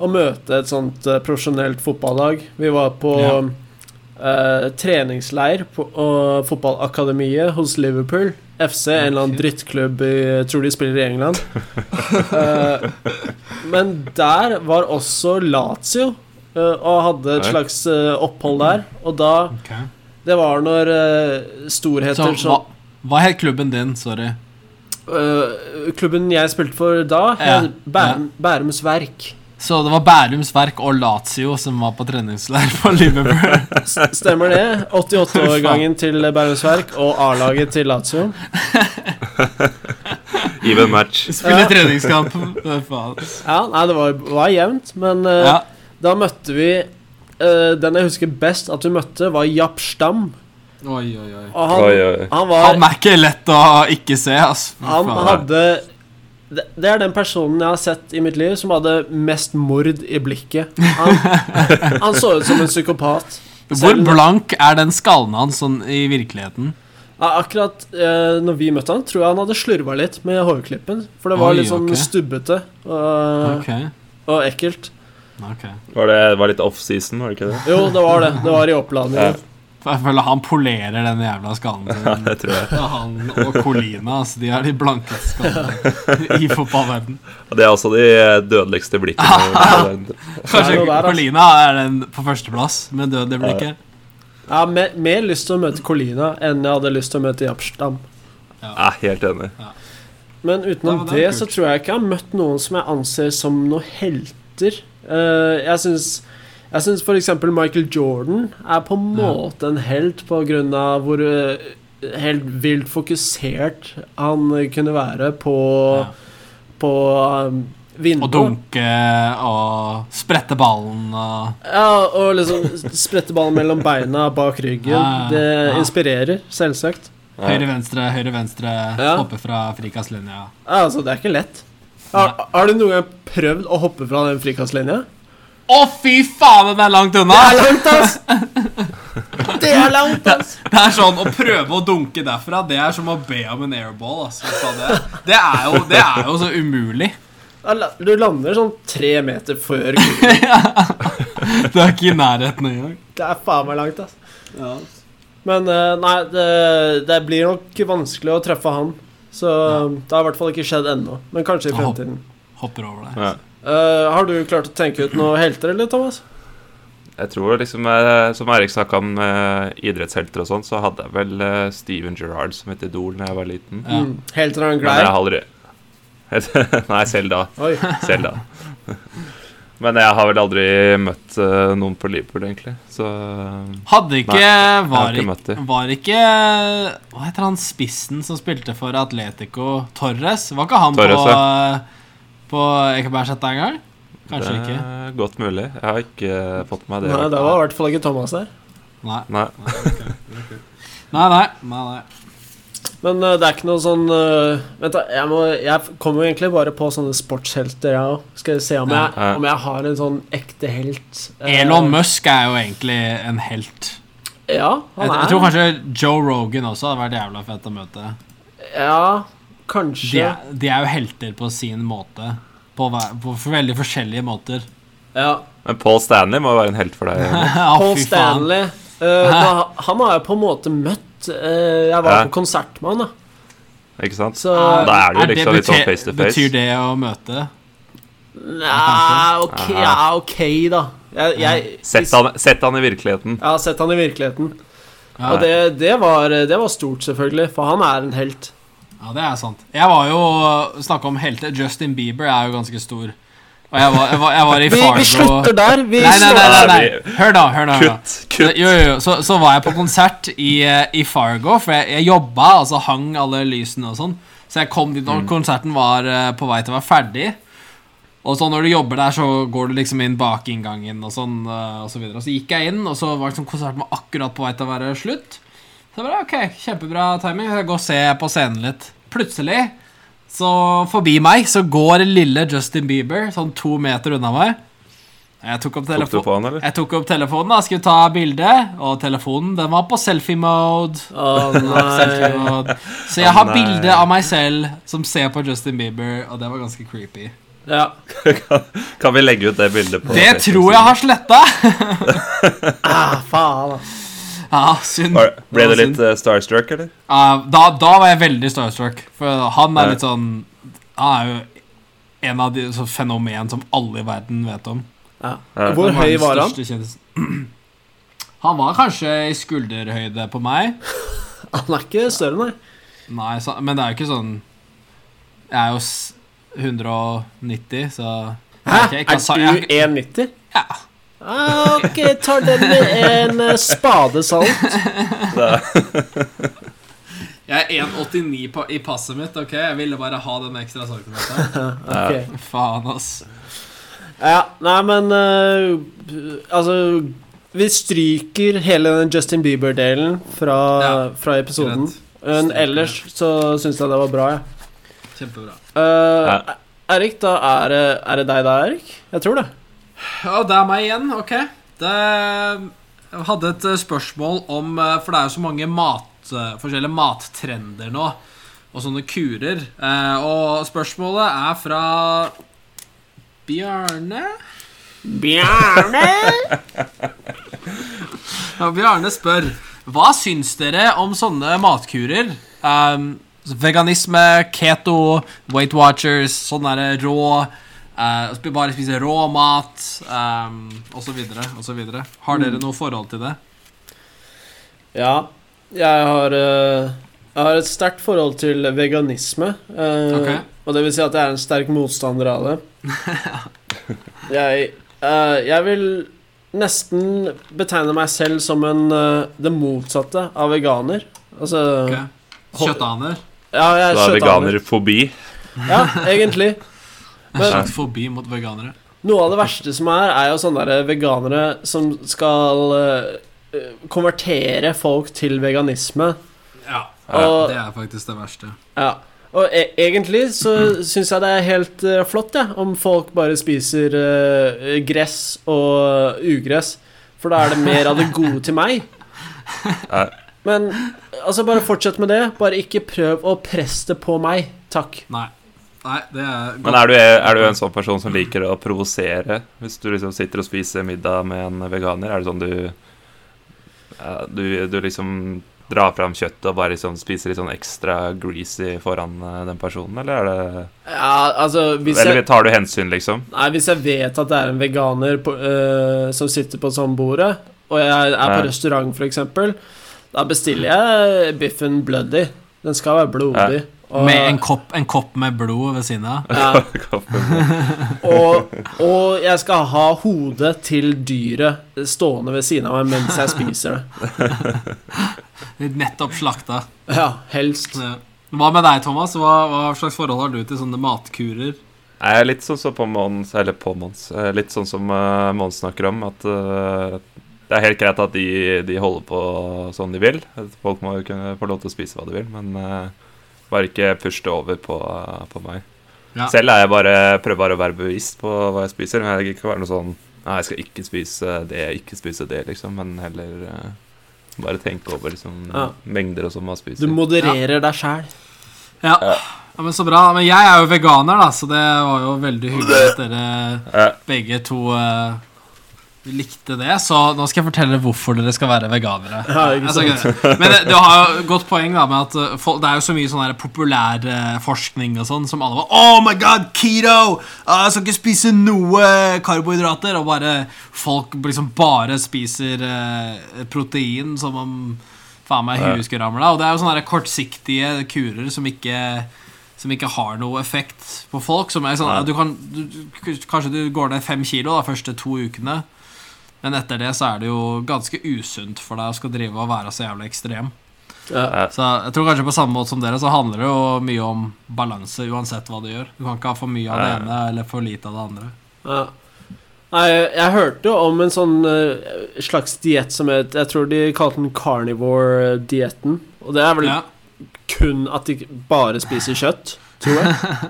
å møte et sånt eh, profesjonelt fotballag. Vi var på eh, treningsleir på og fotballakademiet hos Liverpool. FC, en eller annen
Ok.
drittklubb i jeg Tror de spiller i England. Eh, men der var også Lazio eh, og hadde et
Oi.
slags eh, opphold der. Og da Det var når eh,
Så
storheter
hva,
som
hva het klubben din? Sorry.
Øh, klubben jeg spilte for da,
Ja,
het Bærum, Bærums Verk.
Så det var Bærums Verk og Lazio som var på treningsleir på Liverpool.
S- Stemmer det? 88-årgangen til Bærums Verk og A-laget til Lazio.
du. Even match.
Spille
Ja.
treningskamp. Hva faen.
Ja, nei, det var, var jevnt, men øh,
Ja.
da møtte vi øh, Den jeg husker best at vi møtte, var Japp Stam.
Oi, oi, oi.
Og han,
Oi, oi.
han var
Han er ikke lett å ikke se, ass. Fy
Han
faen.
hadde det, det er den personen jeg har sett i mitt liv som hadde mest mord i blikket. Han, han så ut som en psykopat.
Hvor
Selv-
blank er den skallen hans sånn i virkeligheten?
Ja, akkurat eh, når vi møtte han, tror jeg han hadde slurva litt med hårklippen. For det var
Oi,
litt sånn
ok.
stubbete og,
Ok,
og ekkelt.
ok
Var det det var litt off-season, var det ikke det?
Jo, det var det. Det var i oppladningen.
Jeg føler han polerer den jævla skallen sin.
Det tror jeg.
Ja, Han og Colina, altså. De er de blankeste skallene i fotballverden.
Og det er også de dødeligste blikkene.
Det er
Kanskje
noe der, ass.
Colina er den på førsteplass med døde blikket.
Jeg har mer, mer lyst til å møte Colina enn jeg hadde lyst til å møte Japstam.
Jeg er helt enig.
Men utenom
Ja, men
det,
det er
så
kult.
tror jeg ikke jeg har møtt noen som jeg anser som noen helter. Eh, jeg syns jeg syns f.eks. Michael Jordan er på en måte en helt på grunn av hvor eh, helt vilt fokusert han eh, kunne være på,
Ja.
på um, vinduet.
Og dunke og sprette ballen og
Ja, og liksom sprette ballen mellom beina bak ryggen.
Ja,
det
ja.
inspirerer, selvsagt.
Ja.
høyre-venstre, høyre-venstre,
Ja.
hoppe fra frikastlinja.
Ja, Altså, det er ikke lett. Har, har du noen gang prøvd å hoppe fra den frikastlinja?
Å, fy faen, den er langt unna!
Det er langt, ass! Det er langt, ass!
Det er sånn, Å prøve å dunke derfra, det er som å be om en airball. Altså, sa det. Det, er jo, det er jo så umulig.
Da la- Du lander sånn tre meter før gulvet.
Det er ikke i nærheten engang.
Det er faen meg langt, ass. Men eh, nei, det, det blir nok vanskelig å treffe han. Så det har i hvert fall ikke skjedd ennå. Men kanskje i
Jeg håper-
fremtiden.
Hopper over det.
Ja.
Eh, har du klart å tenke ut noen helter, eller, Thomas?
Jeg tror liksom, eh, som Erik snakka om eh, idrettshelter og sånn, så hadde jeg vel eh, Steven Gerrard som et idol da jeg var liten.
Ja.
Mm. Helt til han
Men jeg
glei.
har aldri Nei, selv da.
Oi.
Selv da. Men jeg har vel aldri møtt eh, noen på Liverpool, egentlig. Så eh,
Hadde ikke var,
ikke
ikke
møtt dem.
var ikke Hva heter han spissen som spilte for Atletico? Torres? Var ikke han
Torres,
på, på Ekebergsletta en gang? Kanskje
det
ikke.
er godt mulig. Jeg har ikke eh, fått med meg det.
Nei, det var i hvert fall ikke Thomas der.
Nei.
Nei.
Nei, nei. nei, nei.
Men eh, det er ikke noe sånn eh, Vent, da. Jeg, må, jeg kommer jo egentlig bare på sånne sportshelter, jeg òg. Skal vi se om jeg,
Ja.
om jeg har en sånn ekte helt. eh,
Elon Musk er jo egentlig en helt.
Ja,
Jeg,
han er
jeg tror kanskje Joe Rogan også hadde vært jævla fett å møte.
Ja,
De
kanskje.
er, de er jo helter på sin måte. På, hver, på veldig forskjellige måter.
Ja.
Men Paul Stanley må jo være en helt for deg. Henrik.
Ja,
Paul
fy faen.
Stanley. eh, da, han har jeg på en måte møtt. eh, jeg var
Ja.
på konsert med han, da.
Ikke sant?
Så
Da er det jo liksom litt sånn
bete-
face to face.
Betyr det å møte?
Nei, ok, ja, ok, da. Jeg, jeg,
Sett han, sett han i virkeligheten.
jeg har sett han i virkeligheten.
Ja.
Og det, det, var, eh, det var stort, selvfølgelig, for han er en helt.
Ja, det er sant. Jeg var jo Snakka om helter. Justin Bieber er jo ganske stor. Og jeg var, jeg var, jeg var i
Vi, vi
Fargo
slutter der. Vi
Nei, nei, nei,
slår
nei,
Nei,
nei. Hør da, hør da, hør da.
Kutt! Kutt!
Ah. Jo, jo, jo. Så, så var jeg på konsert i, eh, i Fargo, for jeg, jeg jobba, og så hang alle lysene og sånn. Så jeg kom dit
Mm.
når konserten var eh, på vei til å være ferdig. Og så når du jobber der, så går du liksom inn bak inngangen og sånn. eh, Og så, videre. og så gikk jeg inn, og så var liksom konserten var akkurat på vei til å være slutt. Så jeg bare, ok, kjempebra timing, jeg går og ser på scenen litt. Plutselig, så forbi meg, så går lille Justin Bieber, sånn to meter unna meg. Jeg tok opp
Tok du
telefonen.
på han, eller?
Jeg tok opp telefonen, da, skulle ta bilde, og telefonen den var på selfie-mode.
Å,
Den var på
nei.
selfie-mode. Så jeg har
Å, nei.
bilde av meg selv som ser på Justin Bieber, og det var ganske creepy.
Ja.
Kan vi legge ut det bildet på
Det
Facebook-siden?
tror jeg har sletta!
Ah, faen, da.
Ja, synd.
Var- Ble
var
det
synd.
litt eh, starstruck, eller?
Ja, da, da var jeg veldig starstruck, for han
Ja.
er litt sånn Han er jo en av de så fenomen som alle i verden vet om.
Ja.
Ja.
Hvor
er
høy
den
var han?
største kjendisen. Han var kanskje i skulderhøyde på meg.
Han er ikke større, nei.
Nei, så, men det er jo ikke sånn Jeg er jo s- 190, så
Hæ?
Ok, jeg kan
Er
sa- jeg-
du 1,90?
Ja.
Ah, ok, tar den med en eh, spade salt.
Jeg er 1,89 på- i passet mitt, OK? Jeg ville bare ha den ekstra centimeteren.
Ok.
Faen, ass.
Ja, nei, men eh, Altså Vi stryker hele den Justin Bieber-delen fra,
Ja,
fra episoden.
greit.
Men
Stryker
ellers så syns jeg det var bra, jeg.
Kjempebra.
Eh, Erik, da er, det- er det deg da, Erik? Jeg tror det.
Ja, det er meg igjen. OK. Det jeg hadde et eh, spørsmål om eh, For det er jo så mange mat, eh, forskjellige mattrender nå, og sånne kurer. Eh, Og spørsmålet er fra Bjarne.
Bjarne!
Ja, Bjarne spør Hva syns dere om sånne matkurer? Ehm, veganisme, keto, Weight Watchers, sånn derre rå eh, sp- Bare spise rå mat, um, osv. osv. Har dere noe forhold til det?
Ja, jeg har, eh, jeg har et sterkt forhold til veganisme. eh,
Ok.
Og det vil si at jeg er en sterk motstander av det. jeg, eh, jeg vil nesten betegne meg selv som en, eh, det motsatte av veganer. Altså
Ok. Kjøttaner.
Ja, jeg er
Da er
kjøttaner.
veganerfobi.
Ja, egentlig. Men-
Kjøtt forbi mot veganere.
Noe av det verste som er, er jo sånne der veganere som skal eh, konvertere folk til veganisme.
Ja,
Og-
det er faktisk det verste.
Ja. Og e egentlig så syns jeg det er helt eh, flott, jeg, om folk bare spiser eh, gress og ugress. For da er det mer av det gode til meg.
Ja.
Men altså, bare fortsett med det. Bare ikke prøv å presse det på meg. Takk.
Nei. Nei, det er
Men er du, er du en sånn person som liker å provosere? Hvis du liksom sitter og spiser middag med en veganer, er det sånn du ja, Du, du liksom dra fram kjøttet og bare liksom spise litt sånn ekstra greasy foran eh, den personen, eller er det
Ja, altså hvis
Eller
jeg,
tar du hensyn, liksom?
nei, hvis jeg vet at det er en veganer på, øh, som sitter på sånn bordet, og jeg er på
Ja.
restaurant, f.eks., da bestiller jeg biffen bloody. Den skal være blodig. Og,
Med en kopp, en kopp med blod ved siden av.
ja, og, og jeg skal ha hodet til dyret stående ved siden av meg mens jeg spiser det.
Litt Nettopp slakta.
Ja, helst.
Ja. Hva med deg, Thomas? Hva, hva slags forhold har du til sånne matkurer?
Jeg er litt sånn som på Mons, eller på Mons, eh, litt sånn som eh, Mons snakker om, at eh, det er helt greit at de, de holder på sånn de vil. At Folk må jo kunne få lov til å spise hva de vil, men eh, bare ikke push det over på, eh, på meg.
Ja.
Selv er jeg bare, prøver bare å være bevisst på hva jeg spiser, men jeg vil ikke være noe sånn Nei, jeg skal ikke spise det, ikke spise det, liksom, men heller eh, bare tenke over liksom,
Ja.
mengder og sånn man
Du
spiser.
modererer deg sjæl.
Ja.
Ja.
ja, men Så bra. Men jeg er jo veganer, da, så det var jo veldig hyggelig at dere
Ja.
begge to eh, likte det. Så nå skal jeg fortelle dere hvorfor dere skal være veganere.
Ja, ikke sant.
Jeg skal ikke det. Men det- du har jo et godt poeng da med at eh, folk, det er jo så mye sånn her populær eh, forskning og sånn som alle var Oh my god, keto! Ah, Jeg skal ikke spise noe karbohydrater. Og bare folk liksom bare spiser eh, protein som om faen meg huet skulle ramle av. Og det er jo sånne her kortsiktige kurer som ikke som ikke har noe effekt på folk. Som er sånn,
Nei.
ja, du kan, du, du- kanskje du går ned fem kilo de første to ukene, men etter det så er det jo ganske usunt for deg å skal drive og være så jævlig ekstrem.
Ja.
eh,
Så jeg tror kanskje på samme måte som dere, så handler det jo mye om balanse uansett hva du gjør. Du kan ikke ha for mye av det
Nei.
ene eller for lite av det andre.
Ja. Nei, jeg hørte jo om en sånn eh, slags diett som het Jeg tror de kalte den carnivore-dietten. Og det er vel
Ja.
kun at de bare spiser kjøtt, tror jeg.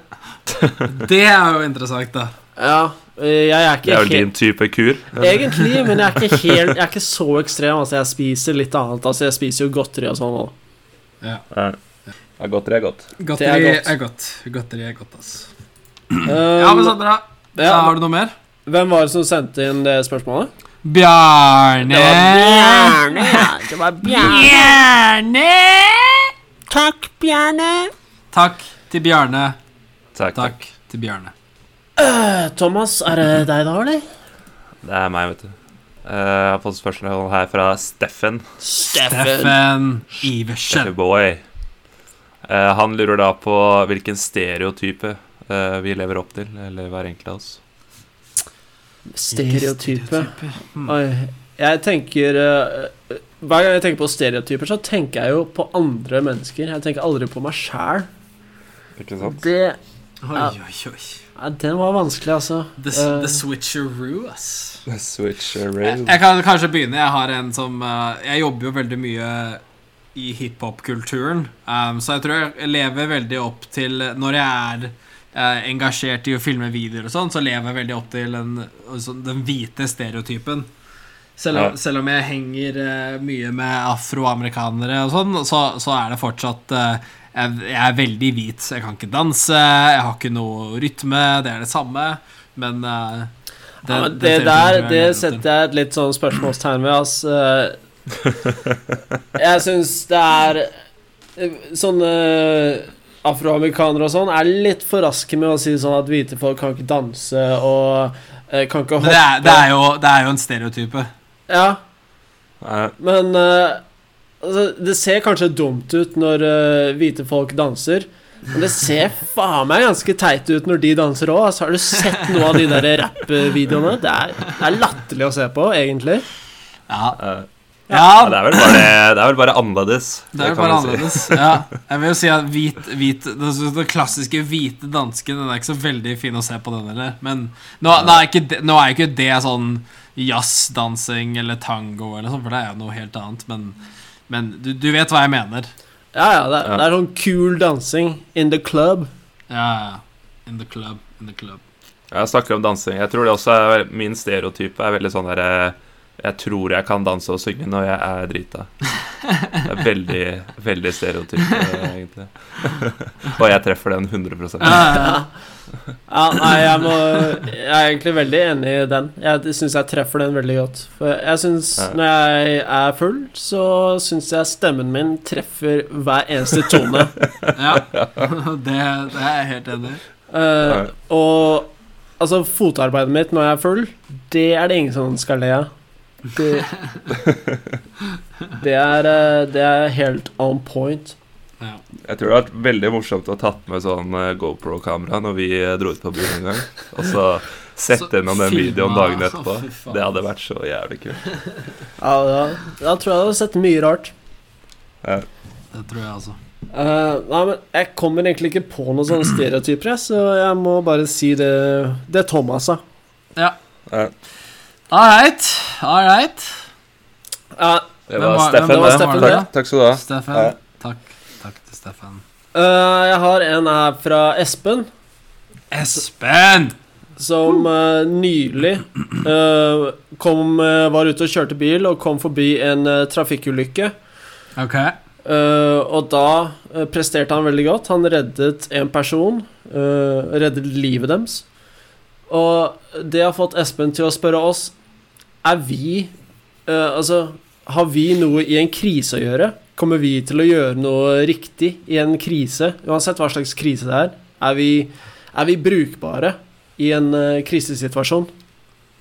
Det er jo interessant, da.
Ja, eh, jeg er
Det
ikke
er vel din type kur?
helt Egentlig, men jeg er ikke helt Jeg er ikke så ekstrem. Altså, jeg spiser litt annet. Altså, jeg spiser jo godteri og sånn òg.
Ja. Ja, Godteri Eh, er godt.
Godteri
Det er godt.
er godt. Godteri er godt, ass. Ja, men så bra.
Eh,
Da har du noe mer?
Hvem var det som sendte inn det spørsmålet?
Bjarne.
Det var Bjarne. Takk, Bjarne.
Takk til Bjarne.
Takk, takk.
Takk til Bjarne.
Eh, Thomas, er det deg da, eller?
Det er meg, vet du. Eh, jeg har fått spørsmål her fra Steffen.
Steffen
Steffen
Iversen.
Boy. Eh, han lurer da på hvilken stereotype eh, vi lever opp til, eller hver enkelt av oss.
Stereotype.
Mm.
Oi. Jeg tenker eh, Hver gang jeg tenker på stereotyper, så tenker jeg jo på andre mennesker. Jeg tenker aldri på meg sjæl.
Ikke
Det
Oi, oi, oi.
ja, Den var vanskelig, altså.
The,
Eh,
the switcheroo, ass.
Switch uh,
Jeg, jeg kan kanskje begynne. Jeg har en som eh, Jeg jobber jo veldig mye i hiphop-kulturen, um, så jeg tror jeg lever veldig opp til Når jeg er eh, engasjert i å filme videoer og sånn, så lever jeg veldig opp til den, altså, den hvite stereotypen. Selv om,
Ja.
selv om jeg henger eh, mye med afroamerikanere og sånn, så, så er det fortsatt eh, jeg, jeg er veldig hvit, så jeg kan ikke danse, jeg har ikke noe rytme, det er det samme, men eh,
ja, men det der
stereotypen tror jeg
det
lever opp til.
setter jeg et litt sånn spørsmålstegn ved, ass. Eh, Jeg syns det er eh, Sånne afroamerikanere og sånn er litt for raske med å si sånn at hvite folk kan ikke danse og eh, kan ikke
Men
hoppe.
det er, det, er jo, det er jo en stereotype.
Ja, Men eh, altså, det ser kanskje dumt ut når eh, hvite folk danser. Men det ser faen meg ganske teit ut når de danser òg. Altså, har du sett noe av de der rappvideoene? Det, er- det er latterlig å se på, egentlig.
Ja,
ja, det, er vel bare, det er vel bare annerledes.
det er jo
kan
bare
man si.
annerledes. Ja. Jeg vil jo si at hvit, hvit den, den klassiske hvite dansken Den er ikke så veldig fin å se på, den heller. Men nå, nå, er ikke det, nå er jo ikke det sånn jazzdansing eller tango eller sånn, for det er jo noe helt annet. Men, men du, du vet hva jeg mener.
Ja, ja, det er, det er sånn cool dansing in the club.
Ja, ja. In the club. In the club.
Jeg snakker om dansing. Jeg tror det også er Min stereotype er veldig sånn der eh, Jeg tror jeg kan danse og synge når jeg er drita. Det er veldig, veldig stereotyp, eh, egentlig. Og jeg treffer den 100
Ja, ja, ja.
Ja, nei, jeg, må, jeg er egentlig veldig enig i den. Jeg syns jeg treffer den veldig godt. For jeg syns
Ja.
når jeg er full, så syns jeg stemmen min treffer hver eneste tone.
Ja, det, det er jeg helt enig i.
Eh, og altså, fotarbeidet mitt når jeg er full, det er det ingen som skal le av. Det, det, er, eh, det er helt on point.
Ja.
Jeg tror det har vært veldig morsomt å ha tatt med sånn eh, GoPro-kamera når vi eh, dro ut på byen en gang, og så
Så
sette gjennom den
filma-
videoen dagen
Å,
etterpå.
fy faen.
Det hadde vært så jævlig kult.
Ja, da, da tror jeg jeg har sett mye rart.
Det tror jeg, altså.
Eh, nei, men jeg kommer egentlig ikke på noen sånne stereotyper, jeg, så jeg må bare si det Det Thomas sa.
Ja,
All right, all right.
Ja,
Det
Hvem
var
var- hvem-
Steffen,
det var
det.
Steffen,
Takk,
det?
takk skal du ha. Ja.
Steffen. Takk. Takk til Steffen.
eh, jeg har en her fra Espen,
Espen!
som eh, nylig eh, kom, eh, var ute og kjørte bil og kom forbi en eh, trafikkulykke.
Ok.
Eh, og da eh, presterte han veldig godt. Han reddet en person. eh, reddet livet deres. Og det har fått Espen til å spørre oss Er vi eh, Altså, har vi noe i en krise å gjøre? Kommer vi til å gjøre noe riktig i en krise? Uansett hva slags krise det er. Er vi, er vi brukbare i en eh, krisesituasjon?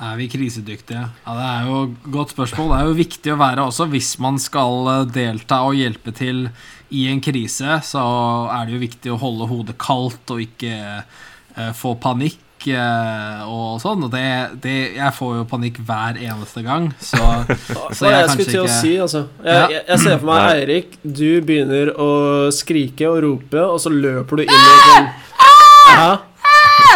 Er vi krisedyktige? Ja, Det er jo et godt spørsmål. Det er jo viktig å være også hvis man skal eh, delta og hjelpe til i en krise, så er det jo viktig å holde hodet kaldt og ikke eh, få panikk eh, og sånn. Og det, det, jeg får jo panikk hver eneste gang, så,
Det
så
var det
jeg
jeg
kanskje
skulle til å
ikke-
si, altså.
Ja.
Jeg, jeg, jeg ser for meg
Nei.
Eirik, du begynner å skrike og rope, og så løper du inn i
Ah!
den ja.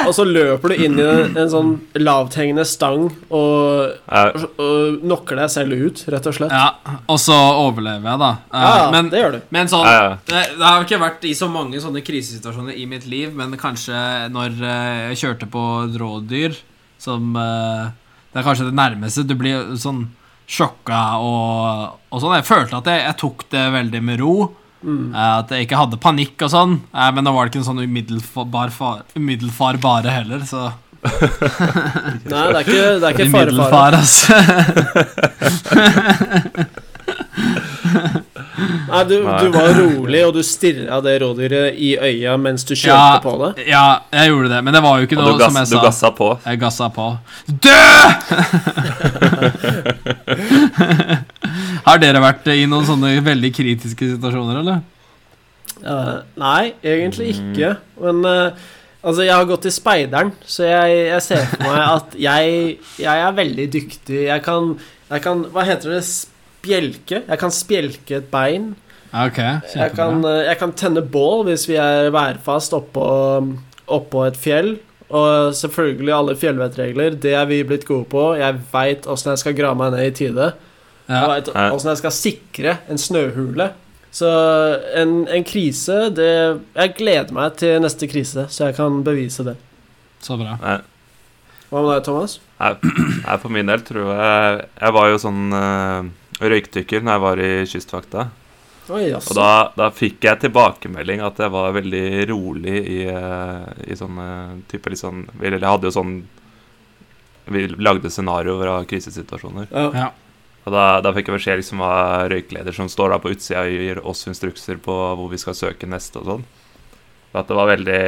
Og så løper du inn i en, en sånn lavthengende stang og,
Ja,
og knocker deg selv ut, rett og slett.
Ja, og så overlever jeg, da. Eh,
Ja, ja,
men,
det gjør du.
Men sånn,
Ja, ja.
Det, det har ikke vært i så mange sånne krisesituasjoner i mitt liv, men kanskje når eh, jeg kjørte på et rådyr, som eh, Det er kanskje det nærmeste. Du blir sånn sjokka og, og sånn. Jeg følte at jeg, jeg tok det veldig med ro.
Mm.
eh, At jeg ikke hadde panikk og sånn. eh, Men nå var det ikke en sånn umiddelbar, far, umiddelbar bare heller, så
Nei, det er ikke, det er ikke fare, fare.
Umiddelbar, altså.
Nei, du,
Nei.
du var rolig, og du stirra det rådyret i øya mens du kjørte
Ja.
på det.
ja, jeg gjorde det, men det var jo ikke
og du,
noe som
gass,
jeg
du
sa.
gassa på.
Jeg gassa på. Dø! Har dere vært i noen sånne veldig kritiske situasjoner, eller?
Eh, nei, egentlig ikke. Men eh, altså, jeg har gått i speideren, så jeg, jeg ser for meg at jeg, jeg er veldig dyktig. Jeg kan, jeg kan Hva heter det? Spjelke? Jeg kan spjelke et bein.
Ok,
Jeg kan,
kjempebra.
eh, jeg kan tenne bål hvis vi er værfast oppå, oppå et fjell. Og selvfølgelig alle fjellvettregler. Det er vi blitt gode på. Jeg veit åssen jeg skal grave meg ned i tide. Jeg
Ja.
vet
Ja.
åssen jeg skal sikre en snøhule. Så en, en krise det, Jeg gleder meg til neste krise, så jeg kan bevise det.
Så bra.
Nei.
Hva med deg, Thomas?
Nei, for min del tror jeg Jeg var jo sånn eh, røykdykker når jeg var i Kystvakta.
Oi,
Og
jaså.
da, da fikk jeg tilbakemelding at jeg var veldig rolig i, eh, i sånne type litt sånn Vi hadde jo sånn Vi lagde scenarioer av krisesituasjoner.
Ja.
Ja.
Og da, da fikk jeg beskjed liksom av røykleder som står da på utsida og gir oss instrukser på hvor vi skal søke neste og sånn. Og At det var veldig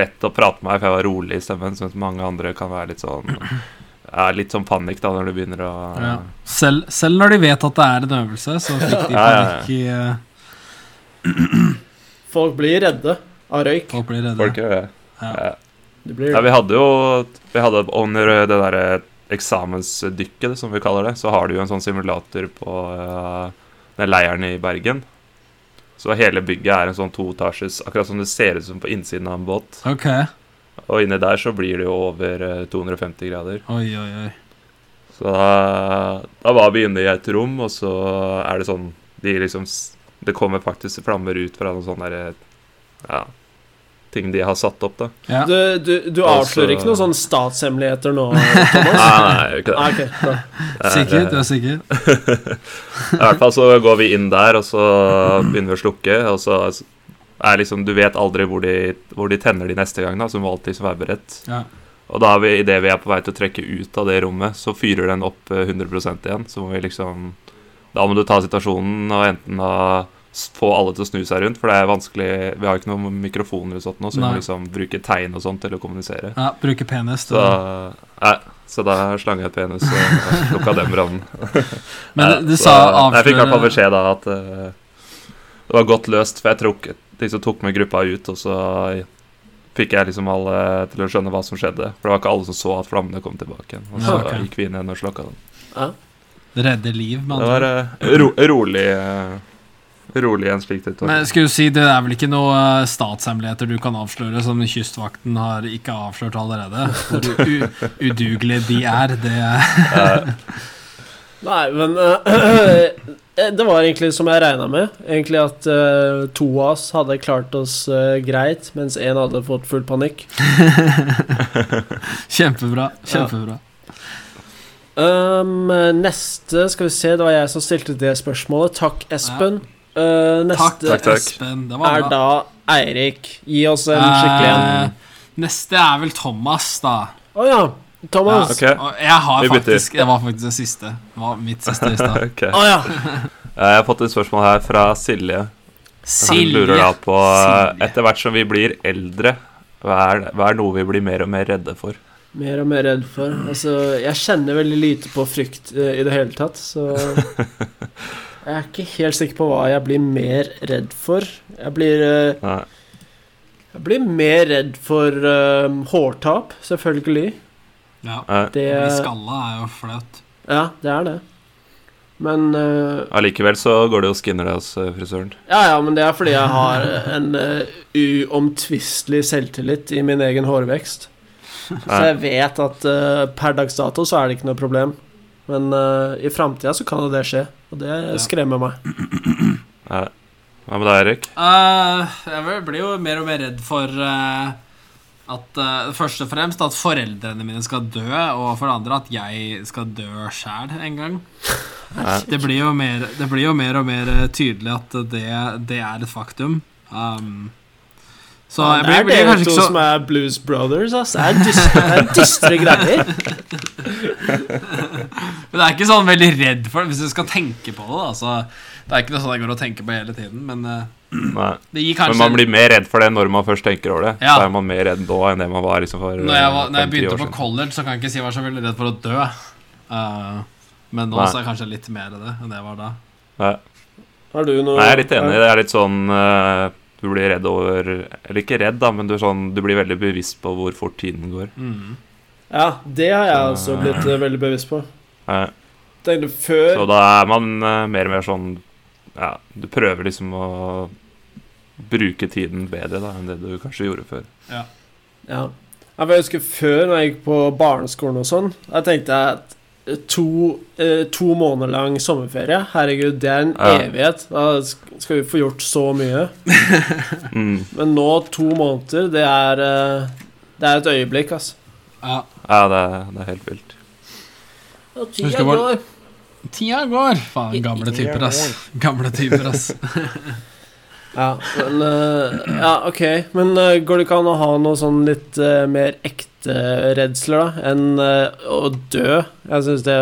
lett å prate med meg, for jeg var rolig i stemmen. Sånn at mange andre kan være litt sånn ja, Litt sånn panikk da når du begynner å
Ja. Selv, selv når de vet at det er en øvelse, så fikk de
Ja, ja, ja.
panikk i eh,
Folk blir redde av røyk.
Folk blir redde.
Folk gjør det.
Ja.
Ja.
De blir
Ja, vi hadde jo Vi hadde under det derre eksamensdykket, som vi kaller det, så har du jo en sånn simulator på eh, den leiren i Bergen. Så hele bygget er en sånn toetasjes Akkurat som det ser ut som på innsiden av en båt.
Ok.
Og inni der så blir det jo over eh, 250 grader.
Oi, oi, oi.
Så da, da var vi inne i et rom, og så er det sånn De liksom s- Det kommer faktisk flammer ut fra noen sånne der, ja, ting de har satt opp, da.
Ja.
Du, du, du
Altså-
avslører ikke noen sånne statshemmeligheter nå, Thomas?
Nei, nei, jeg gjør ikke det.
Ah, ok, bra.
Sikker? Du er sikker?
Eh, I hvert fall så går vi inn der, og så begynner vi å slukke, og så er liksom, du vet aldri hvor de, hvor de tenner de neste gang, da, så du må alltid være beredt.
Ja.
Og da er vi, i det vi er på vei til å trekke ut av det rommet, så fyrer den opp eh, 100 igjen. Så må vi liksom Da må du ta situasjonen og enten da s- få alle til å snu seg rundt, for det er vanskelig Vi har ikke noen mikrofoner og sånt nå, så vi må
Nei.
liksom bruke tegn og sånt til å kommunisere.
Ja, bruke penis.
Så, nei, så da slang jeg ut penis og lukka den brannen.
Men
Ja,
du
så
sa
Jeg fikk i hvert fall
avsløre
beskjed da at eh, det var godt løst, for jeg tok, liksom, tok med gruppa ut, og så fikk jeg liksom alle til å skjønne hva som skjedde. For det var ikke alle som så at flammene kom tilbake igjen. Og så
Ja, ok.
gikk vi inn igjen og slokka den.
redde liv. Med
Det
andre.
var eh, ro rolig eh, Rolig i en slik
ord. Men jeg
situasjon.
skulle si, det er vel ikke noe eh, statshemmeligheter du kan avsløre som Kystvakten har ikke avslørt allerede? Hvor u- udugelige de er. Det er
Eh,
Nei, men eh, Det var egentlig som jeg regna med. Egentlig at eh, to av oss hadde klart oss eh, greit, mens én hadde fått full panikk.
kjempebra. Kjempebra.
Um, neste skal vi se, det var jeg som stilte det spørsmålet. Takk, Espen. Eh,
Takk,
neste
Takk, takk.
Espen. Det var
er
bra.
da Eirik. Gi oss en skikkelig en.
Eh, Neste er vel Thomas, da.
Å ja. Thomas.
Ja, ok.
Og jeg har
Vi bytter.
faktisk Det var faktisk det siste. Det var mitt siste i stad.
ok.
Å ja.
Eh, Jeg har fått et spørsmål her fra Silje. Hun lurer da
Silje.
på eh,
Silje.
Etter hvert som vi blir eldre, hva er, hva er noe vi blir mer og mer redde for?
Mer og mer redd for. Altså, jeg kjenner veldig lite på frykt eh, i det hele tatt, så Jeg er ikke helt sikker på hva jeg blir mer redd for. Jeg blir, eh,
Nei.
jeg blir mer redd for eh, hårtap, selvfølgelig.
Ja.
eh,
Det,
Å bli skalla er jo flaut.
ja, det er det. Men eh,
Allikevel så går det og skinner det hos eh, frisøren.
Ja, ja, men det er fordi jeg har en eh, uomtvistelig selvtillit i min egen hårvekst. Så
Nei.
jeg vet at eh, per dags dato så er det ikke noe problem. Men eh, i framtida så kan jo det skje, og det skremmer meg.
Nei. Hva med deg, Erik?
Eh, jeg vel- blir jo mer og mer redd for eh, at eh, Først og fremst at foreldrene mine skal dø, og for det andre at jeg skal dø sjæl en gang.
Nei.
Det blir jo mer, det blir jo mer og mer eh, tydelig at det, det er et faktum. Um, så
det
jeg blir,
er
blir
dere
kanskje
to
ikke
som
så
er Blues Brothers, ass. Det er dystre, det er dystre greier.
Men det er ikke sånn veldig redd for det, hvis du skal tenke på det. da, så det er ikke noe sånn jeg går og tenker på hele tiden, men eh,
Nei.
det gir
Men
kanskje
man blir mer redd for det når man først tenker over det.
Ja.
Så er man mer redd nå enn det man var liksom for
Når jeg, var, når jeg
50
begynte
år
på
siden.
college, så kan jeg ikke si jeg var så veldig redd for å dø. Eh, men nå
Nei.
så er jeg kanskje litt mer det enn det jeg var da.
Nei.
Har du noe
Nei, jeg er litt enig. Det er litt sånn eh, Du blir redd over Eller ikke redd, da, men du, er sånn, du blir veldig bevisst på hvor fort tiden går.
Mm.
Ja, det har jeg også blitt eh, veldig bevisst på.
Nei.
Tenkte
Så
før
da er man eh, mer og mer sånn Ja, du prøver liksom å bruke tiden bedre da enn det du kanskje gjorde før.
Ja. Ja, for Jeg husker før, når jeg gikk på barneskolen og sånn, da tenkte jeg at to, eh, to måneder lang sommerferie, herregud, det er en
Ja.
evighet. Da sk- skal vi få gjort så mye.
Mm.
Men nå, to måneder, det er eh, Det er et øyeblikk, altså.
Ja,
Ja, det er, det er helt vilt.
tida Husker bare- tida går. Faen, gamle typer, ass. Gamle typer, ass.
Ja, men eh, Ja, ok. Men eh, går det ikke an å ha noe sånn litt eh, mer ekte redsler, da, enn eh, å dø? Jeg syns det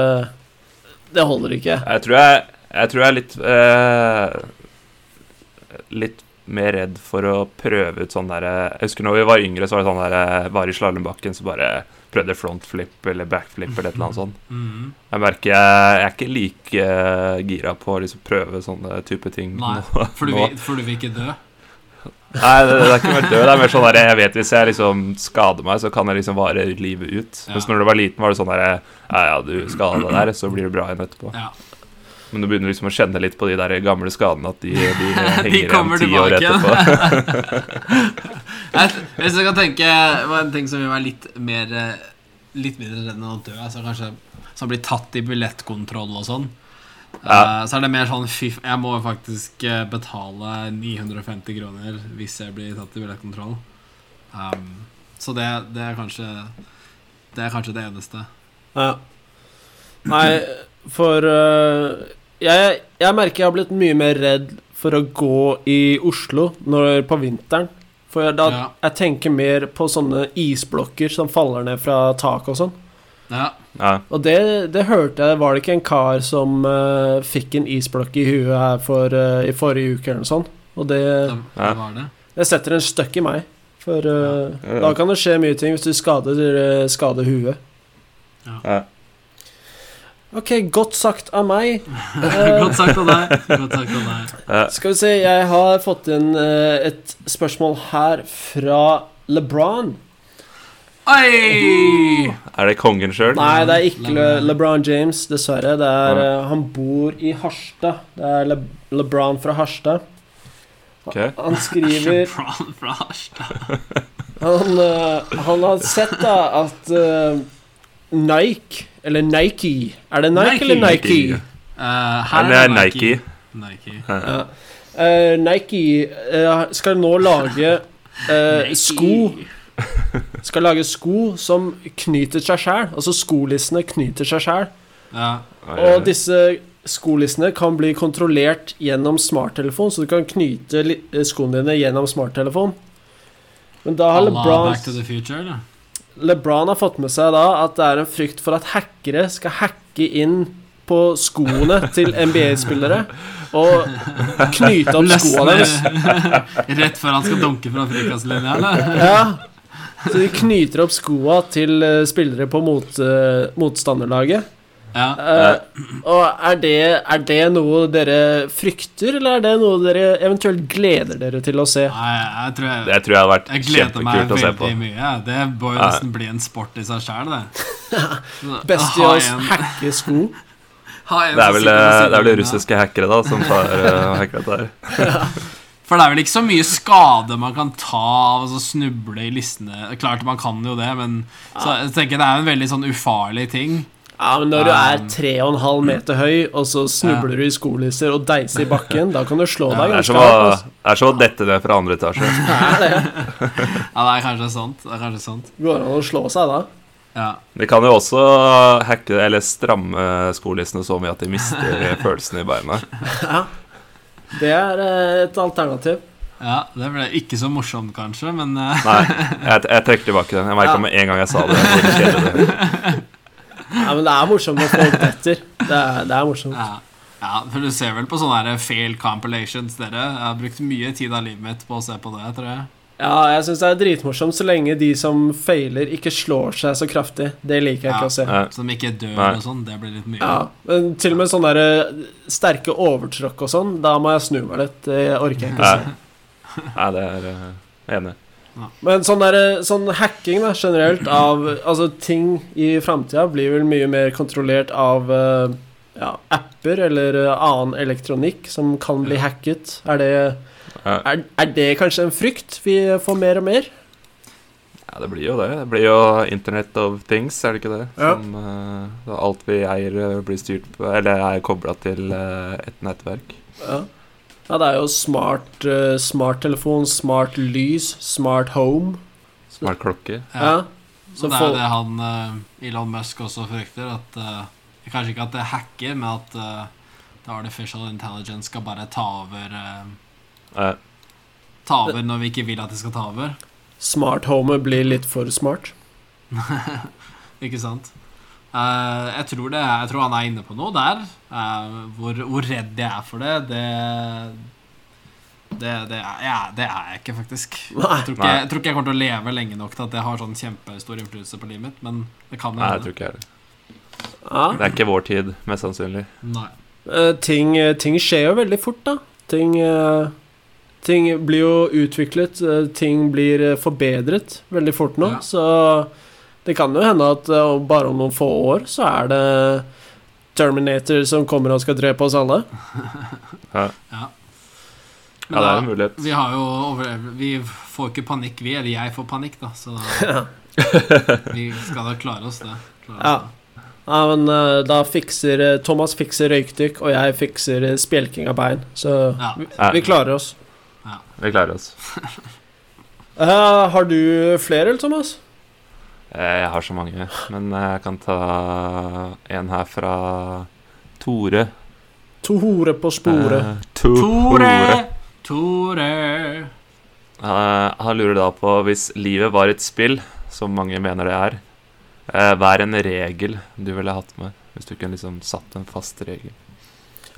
Det holder ikke.
Jeg tror jeg, jeg, tror jeg er litt eh, Litt mer redd for å prøve ut sånn der Jeg husker når vi var yngre, så var det sånn der Var i slalåmbakken, så bare prøvde frontflip eller backflip eller et eller annet sånt.
Mm.
Jeg merker jeg, jeg er ikke like eh, gira på å liksom prøve sånne type ting.
Nei,
nå.
for du, vil, for du vil ikke dø.
Nei, det, det er ikke mer død. Det er mer sånn der, jeg vet Hvis jeg liksom skader meg, så kan jeg liksom vare livet ut.
Ja.
Mens når du var liten, var det sånn der Ja, ja, du skada deg der, så blir du bra igjen etterpå.
Ja.
Men du begynner liksom å kjenne litt på de der gamle skadene at de, de henger
De
igjen
kommer
ti år
tilbake igjen.
etterpå.
Jeg- Hvis jeg kan tenke på en ting som vil være litt mer eh, Litt mindre redd enn å dø, altså kanskje som blir tatt i billettkontroll og sånn.
Ja.
Eh, Så er det mer sånn fy f- Jeg må faktisk eh, betale 950 kroner hvis jeg blir tatt i billettkontroll. Um, så det, det er kanskje Det er kanskje det eneste.
Ja. eh, Nei, for øh, jeg, jeg merker jeg har blitt mye mer redd for å gå i Oslo når, på vinteren. For da,
Ja.
jeg tenker mer på sånne isblokker som faller ned fra taket og sånn.
Ja.
Ja.
Og det, det hørte jeg Var det ikke en kar som eh, fikk en isblokk i huet her for, eh, i forrige uke eller noe sånt? Og det,
Det, det var det.
det setter en støkk i meg. For eh,
Ja. Ja.
da kan det skje mye ting hvis du skader, eh, skader huet.
Ja.
Ok, godt sagt av meg. Eh,
Godt sagt av deg. Godt sagt av deg.
Ja.
Skal vi se, jeg har fått inn eh, et spørsmål her fra LeBron.
Oi!
Er det kongen sjøl?
Nei, det er ikke Le
LeBron.
LeBron James, dessverre. Det er,
Nei.
eh, han bor i Harstad. Det er Le LeBron fra Harstad.
Ok.
Han skriver
Bron fra Harstad.
Han, eh, han har sett da at eh, Nike, eller Nike Er det Nike,
Nike.
eller Nike?
Nike.
Eh, her
Eller er Nike?
Nike.
Ja.
Ja. Eh, Nike eh, skal nå lage eh,
Nike.
sko Skal lage sko som knyter seg sjæl. Altså skolissene knyter seg sjæl.
Ja.
Og disse skolissene kan bli kontrollert gjennom smarttelefon, så du kan knyte li- eh, skoene dine gjennom smarttelefon. Men da har
Alla
LeBron
Back to the future, eller?
LeBron har fått med seg da at det er en frykt for at hackere skal hacke inn på skoene til NBA-spillere og knyte opp skoene deres.
Løsner rett før han skal dunke fra frikastlinja, eller?
Ja. Så de knyter opp skoa til eh, spillere på mot, eh, motstanderlaget.
Ja.
Eh, og er det, er det noe dere frykter, eller er det noe dere eventuelt gleder dere til å se?
Nei, jeg tror jeg,
Det tror jeg hadde vært
jeg gleder meg
kjempekult å se på.
veldig mye. jeg. Det bør jo
Ja.
nesten bli en sport i seg sjæl, det.
Best i
Ha
å
en-
hacke sko.
ha en
Det er
som
vel,
sitter ved
eh,
siden
det er vel
av.
russiske hackere da som tar eh, hacker dette her.
For det er vel ikke så mye skade man kan ta av å snuble i listene. Klart man kan jo det, men så jeg tenker det er en veldig sånn ufarlig ting.
Ja, men når du er
Um.
3,5
Mm.
meter høy, og så snubler du i skolisser og deiser i bakken, da kan du slå deg
Det er
ganske
som å,
hardt. altså.
det er som å dette ned fra andre etasje.
Ja, det er kanskje sant. Det er kanskje sant.
Går det an å slå seg da?
Ja.
De kan jo også hacke eller stramme skolissene så mye at de mister følelsen i beina.
Det er eh, et alternativ.
ja, Det ble ikke så morsomt, kanskje, men eh,
Nei, jeg, jeg trekker tilbake den. Jeg merka
Ja.
med en gang jeg sa det. hvor kjedelig det. er.
Ja, men det er morsomt når folk detter. Det er, det er morsomt.
ja. ja, for Du ser vel på sånne her fail compilations, dere. Jeg har brukt mye tid av livet mitt på å se på det, tror jeg.
Ja, jeg syns det er dritmorsomt så lenge de som feiler, ikke slår seg så kraftig. Det liker jeg ikke å se.
Ja.
Som ikke dør
Nei.
og sånn. Det blir litt mye.
Ja, men til og med sånne der, eh, sterke overtråkk og sånn, da må jeg snu meg litt. Det orker jeg ikke å se.
Nei, det er eh, jeg er enig.
Men sånn, der, sånn hacking da, generelt av altså, ting i framtida blir vel mye mer kontrollert av eh, ja, apper eller eh, annen elektronikk som kan bli hacket. Er det,
Ja.
er, er det kanskje en frykt vi får mer og mer?
Ja, det blir jo det. Det blir jo Internet of Things, er det ikke det?
Ja.
Som, eh, da alt vi eier, eh, blir styrt på, eller er kobla til eh, et nettverk.
Ja, ja det er jo smart, eh, smarttelefon, smart lys, smart home.
Smart klokke.
Ja.
Ja.
Så
og det er jo
folk-
det han eh, Elon Musk også frykter. At, eh, kanskje ikke at det hacker, men at eh, det artificial intelligence skal bare ta over eh,
Eh,
Ta over når vi ikke vil at det skal ta over.
Smart home blir litt for smart.
Ikke sant? Eh, jeg, tror det, jeg tror han er inne på noe der. Eh, hvor, hvor redd jeg er for det, det det, det, er, ja, det er jeg ikke, faktisk.
Nei.
Jeg tror ikke,
Nei.
jeg tror ikke jeg kommer til å leve lenge nok til at det har sånn kjempestor innflytelse på livet mitt, men det kan jo
nei, jeg
hende.
tror ikke jeg er det.
Ja.
Det er ikke vår tid, mest sannsynlig.
Nei.
Eh, ting, eh, ting skjer jo veldig fort, da. Ting, eh, ting blir jo utviklet, eh, ting blir eh, forbedret veldig fort nå.
Ja.
Så det kan jo hende at eh, om- bare om noen få år så er det Terminator som kommer og skal drepe oss alle.
Men
Ja, det
da-
er en mulighet.
Vi har jo overlevd Vi får ikke panikk, vi. Eller jeg får panikk, da. Så da, vi skal da klare oss det. Klare
Ja.
oss det.
Ja, men eh, da fikser eh, Thomas fikser røykdykk, og jeg fikser eh, spjelking av bein. Så
Ja.
vi,
Ja.
vi klarer oss.
Vi klarer oss.
Eh, har du flere, eller, Thomas?
Eh, Jeg har så mange, eh, men jeg kan ta en her fra Tore.
To hore på sporet.
Eh, to hore.
Tore! Tore!
Eh, han lurer da på hvis livet var et spill, som mange mener det er, eh, hva er en regel du ville hatt med? Hvis du kunne liksom satt en fast regel.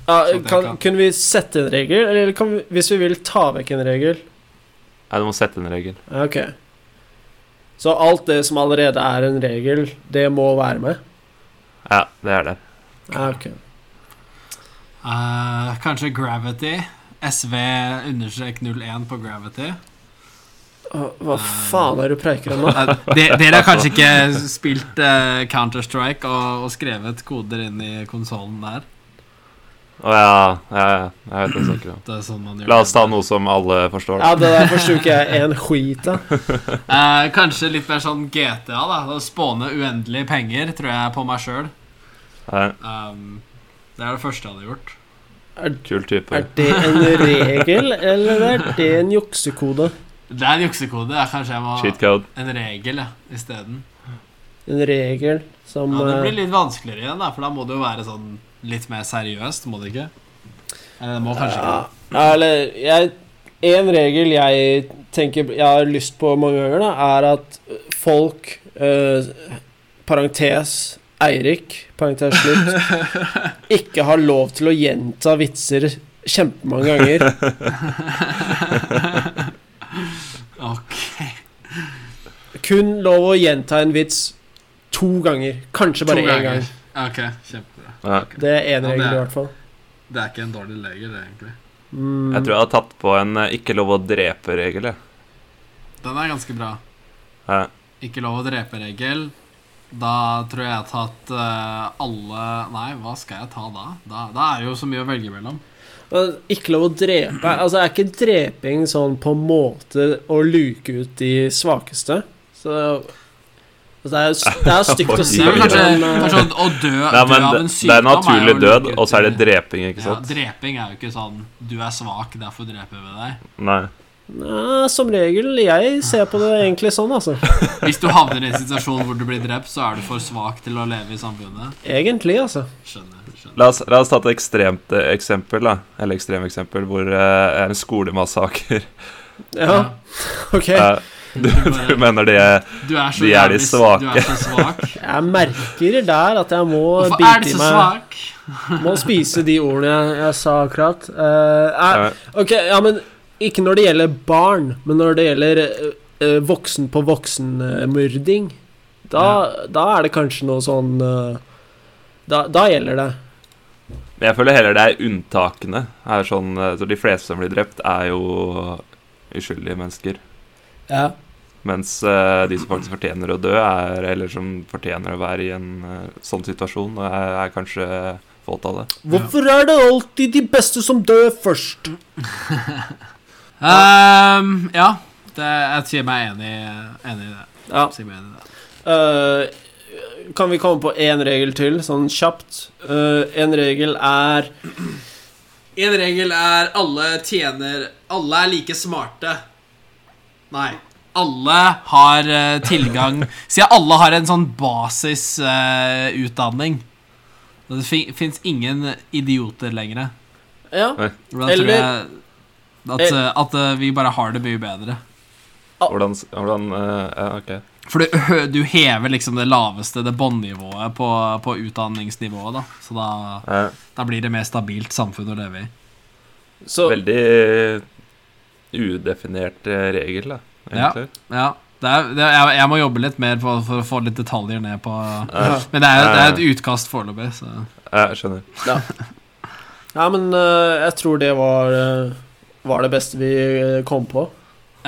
Ja,
sånn
kan,
tenker jeg.
kunne vi sette en regel, eller kan vi, hvis vi vil ta vekk en regel?
Nei, du må sette en regel.
Ja, Ok. Så alt det som allerede er en regel, det må være med?
Ja, det er det.
Ja, ok.
Eh, kanskje Gravity. SV-01 på Gravity.
Å, Hva
Ah.
faen er det du preiker om nå?
Eh, de, dere har kanskje ikke spilt eh, Counter-Strike og, og skrevet koder inn i konsollen der?
Å ja, ja, ja, jeg vet hva du snakker om.
Det er sånn man gjør
La oss
det.
ta noe som alle forstår.
Ja, det der forsto ikke jeg en skit av.
Eh, kanskje litt mer sånn GTA, da. Å Spåne uendelig penger, tror jeg, på meg sjøl.
Eh,
Um, det er det første jeg hadde gjort.
kul type.
Er det en regel, eller er det en juksekode?
Det er en juksekode. Jeg kanskje jeg må
Cheat code.
en regel ja, isteden.
En regel som
Ja, det
eh,
blir litt vanskeligere igjen, da, for da må det jo være sånn litt mer seriøst, må det ikke? Eller det må kanskje ikke
Ja, eller jeg, En regel jeg tenker jeg har lyst på mange ganger, da, er at folk eh, Parentes Eirik, parentes slutt, ikke har lov til å gjenta vitser kjempemange ganger.
Ok.
Kun lov å gjenta en vits to ganger. Kanskje
To
bare én gang.
ganger. Ok, kjempebra.
Ja.
Det er én
Ja, det
regel,
er-
i hvert fall.
Det er ikke en dårlig regel, det, egentlig.
Mm.
Jeg tror jeg har tatt på en eh, ikke lov å drepe-regel. jeg. Eh,
Den er ganske bra.
Ja.
Ikke lov å drepe-regel. Da tror jeg jeg har tatt eh, alle Nei, hva skal jeg ta da? Da, da er det jo så mye å velge mellom.
Men Ikke lov å drepe Altså, er ikke dreping sånn på en måte å luke ut de svakeste? Så altså, det, er, jo- det er stygt å si.
Det er vel
Ja,
kanskje,
men, eh,
kanskje å- å dø,
Nei,
dø
men
av
det,
en
det
sykdom
er naturlig
jo
død,
like
og så er det
ut i-
dreping, ikke sant?
Ja, dreping er jo ikke sånn 'du er svak, derfor dreper vi deg'.
Nei.
Nei, som regel, jeg ser på det egentlig sånn, altså.
Hvis du havner i en situasjon hvor du blir drept, så er du for svak til å leve i samfunnet.
Egentlig, altså.
Skjønner. skjønner.
La oss, la oss ta et ekstremt eh, eksempel, da. Eller ekstremeksempel, hvor det er en skolemassaker.
Ja, ok.
Eh, du, du mener det er
Du er så
De er de
jævlig s-
svake.
Du er så svak.
Jeg merker der at jeg må
Hvorfor er
bite
du
i
så
meg.
svak?
Må spise de ordene jeg, jeg sa akkurat. Eh, eh,
eh,
ok, ja, men ikke når det gjelder barn, men når det gjelder eh, eh, voksen på voksen-murding, da, da er det kanskje noe sånn eh, da, da gjelder det.
Men jeg føler heller det er unntakene. Er sånn, eh, så de fleste som blir drept, er jo uskyldige mennesker.
Ja.
Mens eh, de som faktisk fortjener å dø, er, eller som fortjener å være i en eh, sånn situasjon, er, er kanskje fåtallet.
Hvorfor er det alltid de beste som dør først?
Ehm, ja, det, jeg sier meg enig, enig i det.
Ja.
Sier meg enig i det.
Eh, kan vi komme på én regel til, sånn kjapt? Uh, en regel er
En regel er alle tjener Alle er like smarte. Nei. Alle har eh, tilgang Siden alle har en sånn basisutdanning. det fi, fins ingen idioter lenger.
Ja,
Da tror
Eller-
jeg at, eh, at eh, vi bare har det mye bedre.
Hvordan, s- hvordan eh, Ja, OK.
For du, ø- du hever liksom det laveste, det båndnivået, på, på utdanningsnivået. da Så da,
Eh,
da blir det mer stabilt samfunn å leve i.
så
veldig udefinert eh, regel, da, egentlig.
Ja, det er, det er, jeg, jeg må jobbe litt mer for, for å få litt detaljer ned på
ja.
Men det er, det er et utkast foreløpig, så
Ja, jeg skjønner.
ja, men eh, jeg tror det var, eh, var det beste vi eh, kom på.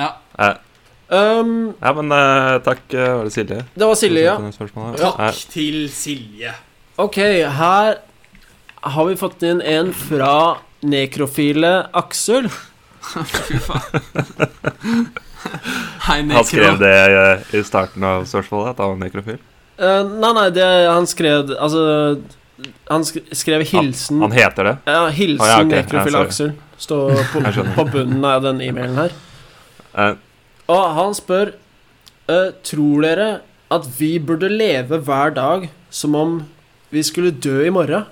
Ja.
Eh,
Um,
ja, men eh, takk, eh, var det Silje?
det var Silje, ja.
Ja. Eh,
til Silje.
Ok, her har vi fått inn en fra nekrofile Aksel.
Fy faen. Hei,
han skrev
Nekro.
det eh, i starten av spørsmålet, at han var nekrofil.
Eh, nei, nei, det, han skrev Altså, han sk- skrev hilsen
Han heter det.
Ja, hilsen
Ah, ja, ok. Ja,
nekrofil
sorry.
Aksel står på,
Jeg skjønner.
på bunnen av den e-mailen her.
Eh,
Og han spør eh, Tror dere at vi burde leve hver dag som om vi skulle dø i morgen?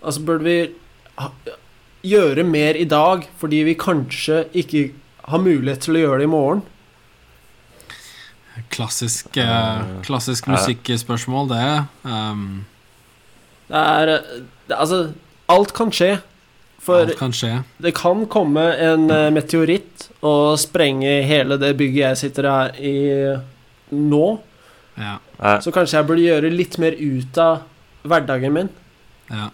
Altså, burde vi ha- gjøre mer i dag fordi vi kanskje ikke har mulighet til å gjøre det i morgen.
Klassisk, eh, klassisk
Ja.
musikkspørsmål, det. Um,
Det er eh, det- Altså, alt kan skje. For
alt kan skje.
det kan komme en eh, meteoritt og sprenge hele det bygget jeg sitter her i nå.
Ja,
Nei,
Så kanskje jeg burde gjøre litt mer ut av hverdagen min.
ja.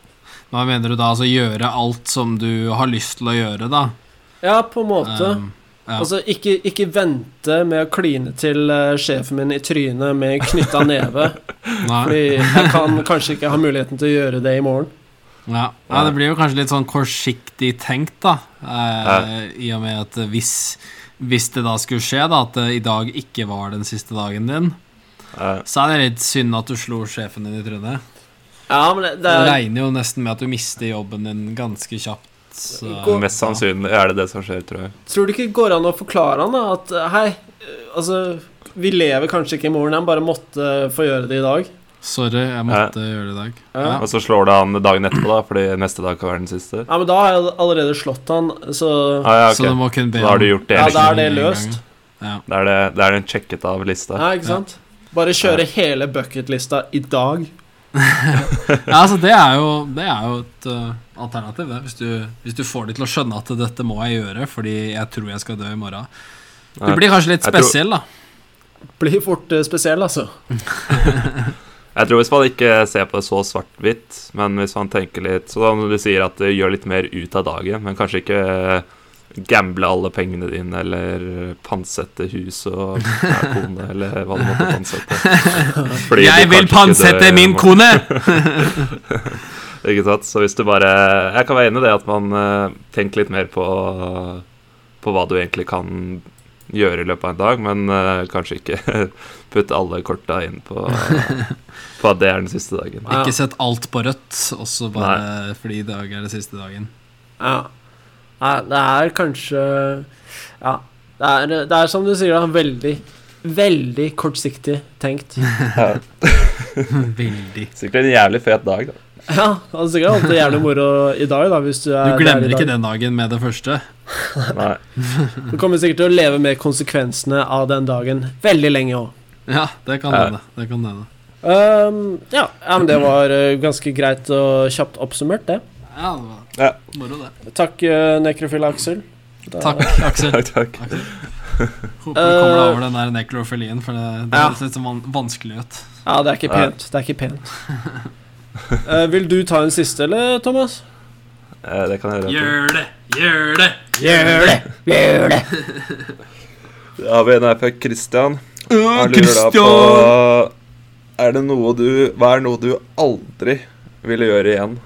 Hva mener du da? Altså gjøre alt som du har lyst til å gjøre, da?
Ja, på en
Eh,
måte.
Um, ja.
Altså, ikke, ikke vente med å kline til eh, sjefen min i trynet med knytta neve,
Nei.
fordi jeg kan kanskje ikke ha muligheten til å gjøre det i morgen.
Ja. ja, det blir jo kanskje litt sånn kortsiktig tenkt, da. Eh, I og med at hvis, hvis det da skulle skje, da, at det i dag ikke var den siste dagen din,
nei,
så er det litt synd at du slo sjefen din i trynet.
Ja, men det,
Det
det er
regner jo nesten med at du mister jobben din ganske kjapt. Så,
Gå-
Mest sannsynlig er det det som skjer, tror jeg.
Tror du ikke det går an å forklare han da at eh, hei, eh, altså vi lever kanskje ikke i morgen, han bare måtte eh, få gjøre det i dag.
Sorry, jeg måtte gjøre det i dag.
Ja.
Og så slår det an dagen etterpå, da, fordi neste dag kan være den siste.
Ja, men da har jeg allerede slått han, så
Ah, ja, ok.
Så du må kunne be
Da har du
om-
gjort det.
ja,
liksom.
da er det løst.
Ja.
Da er det, da er det en sjekket av lista.
Ja, ikke sant? Bare kjøre hele bucketlista i dag.
ja, altså det er jo, det er jo et eh, alternativ, det. Hvis du, hvis du får de til å skjønne at dette må jeg gjøre fordi jeg tror jeg skal dø i morgen. Du
Ja.
blir kanskje litt
Jeg tror-
spesiell, da.
Blir fort eh, spesiell, altså.
Jeg tror hvis man ikke ser på det så svart-hvitt, men hvis man tenker litt Sånn som du sier, at du gjør litt mer ut av dagen, men kanskje ikke gamble alle pengene dine, eller pantsette hus og ja, kone, eller hva du måtte pantsette. Fordi
jeg
du
vil
kanskje ikke
pantsette
dør i
min
morgen.
kone!
Ikke sant? Så hvis du bare Jeg kan være enig i det at man eh, tenker litt mer på, på hva du egentlig kan gjøre i løpet av en dag, men eh, kanskje ikke putte alle korta inn på, på at det er den siste dagen.
Ja.
Ikke sett alt på rødt, også bare fordi i dag er det siste dagen.
Ja. Nei, det er kanskje Ja. Det er, det er som du sier, da, veldig, veldig kortsiktig tenkt.
Veldig.
Sikkert en jævlig fet dag, da.
Ja, altså sikkert alltid jævlig moro i dag, da, hvis du er
Du
der i
glemmer
dag.
ikke den dagen med det første.
Nei.
Du kommer sikkert til å leve med konsekvensene av den dagen veldig lenge òg.
Ja, det kan
Ja.
hende. Det kan hende.
ja, ja, men det var eh, ganske greit og kjapt oppsummert, det.
Ja, det var
Ja.
moro, det.
Takk, uh, nekrofil Aksel. Da-
Takk, Aksel.
Takk, takk.
Håper du kommer deg over den der nekrofilien, for det, det
Ja.
høres litt sånn van- vanskelig ut.
Ja, det er ikke pent. Det er ikke pent. Eh, vil du ta en siste, eller, Thomas?
Eh, Det kan jeg gjøre.
Gjør det! Gjør det!
Gjør det! Gjør det!
Da har vi en her fra Christian.
Åh,
Han lurer da på Er det noe du Hva er noe du aldri ville gjøre igjen?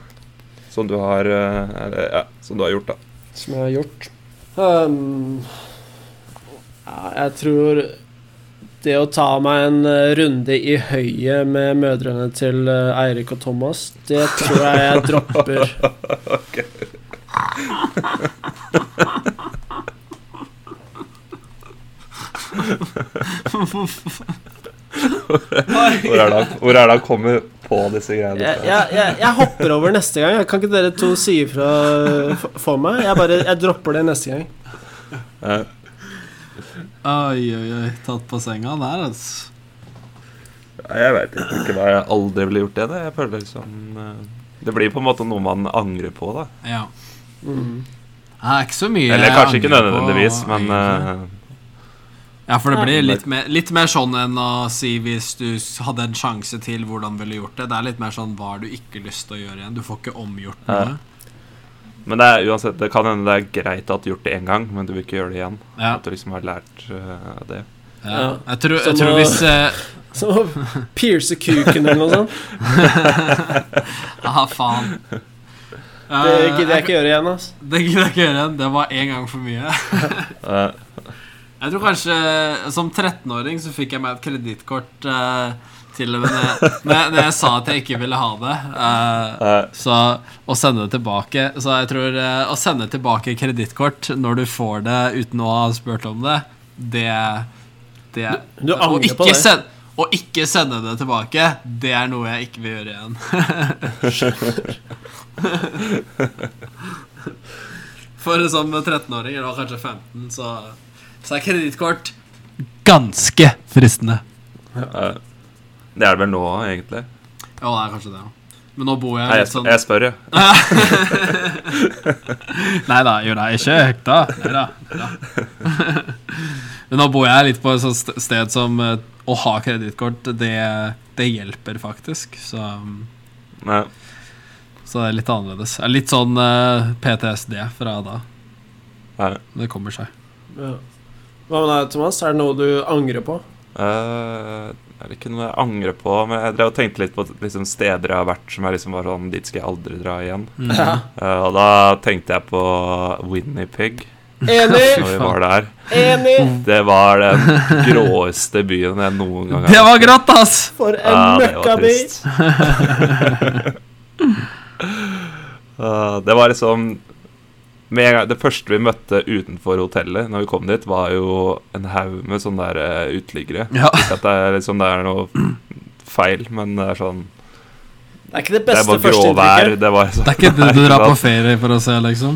Som du har eh, eller, Ja, som du har gjort, da.
Som jeg har gjort. Ehm, ja, jeg tror det å ta meg en eh, runde i høyet med mødrene til eh, Eirik og Thomas, det tror jeg jeg dropper.
Hvor er det han- hvor er det han kommer på disse greiene?
Jeg,
fra?
jeg, jeg, jeg hopper over neste gang. Kan ikke dere to si ifra eh, f- for meg? Jeg bare jeg dropper det neste gang.
Eh,
Oi, oi, oi. Tatt på senga der, altså.
Nei, jeg veit ikke hva jeg aldri ville gjort igjen. jeg. Jeg føler liksom eh, Det blir på en måte noe man angrer på, da.
Ja.
Mm.
Det er ikke så mye
Eller
jeg
kanskje ikke
angrer på,
nødvendigvis, men
egentlig.
eh,
Ja, for det
Ja.
blir litt mer, litt mer sånn enn å si hvis du s- hadde en sjanse til, hvordan ville du gjort det? Det er litt mer sånn hva har du ikke lyst til å gjøre igjen? Du får ikke omgjort
Ja.
noe.
Men det er uansett, det kan hende det er greit at du har gjort det én gang, men du vil ikke gjøre det igjen.
Ja.
At du liksom har lært eh, det.
Ja.
Ja.
Jeg, tror,
Som
jeg tror
å-
hvis eh,
Som å pierce kuken eller noe sånt.
Aha, faen.
Det
Eh,
gidder jeg ikke gjøre igjen. ass.
Det gidder jeg ikke gjøre igjen. Det var én gang for mye.
Eh,
Jeg tror kanskje Som 13-åring så fikk jeg meg et kredittkort eh, til og med når jeg, når, jeg, når jeg sa at jeg ikke ville ha det. eh,
eh,
Så å sende det tilbake Så jeg tror eh, å sende tilbake kredittkort når du får det uten å ha spurt om det, det, det
Du
og
angrer
ikke
på det.
Send, å ikke sende det tilbake, det er noe jeg ikke vil gjøre igjen. For som 13-åring, eller kanskje 15, så, så er kredittkort ganske fristende.
Eh, Det er det vel nå, egentlig.
Ja, det er kanskje det. ja. Men nå bor
Nei,
jeg
jeg,
litt
sp
sånn
jeg spør, jeg.
Nei da, gjør det ikke hekta. Nei da. nei da. Men nå bor jeg litt på et sånt st- sted som eh, å ha kredittkort, det, det hjelper faktisk. Så,
Nei.
så det er litt annerledes. Det er litt sånn eh, PTSD fra da.
Nei.
Det kommer seg.
Ja. Hva med deg, Thomas? Er det noe du angrer på?
Eh, det er ikke noe jeg angrer på, men jeg drev og tenkte litt på liksom, steder jeg har vært som jeg liksom var sånn Dit skal jeg aldri dra igjen.
Mm.
Eh, og da tenkte jeg på Winnipeg
Enig!
når vi var der.
Enig!
Det var den gråeste byen jeg noen gang
Det var grått, ass!
For en
Ja, det var
møkkaby!
trist. Eh, det var liksom med en gang, Det første vi møtte utenfor hotellet, Når vi kom dit, var jo en haug med sånne der eh, uteliggere.
Ja.
Ikke at det er, liksom, det er noe feil, men det er sånn
Det er ikke det
Det
beste
var gråvær.
førsteinntrykket.
Det var, sånn,
Det er ikke det du
Nei,
drar
sant.
på ferie for å se, liksom.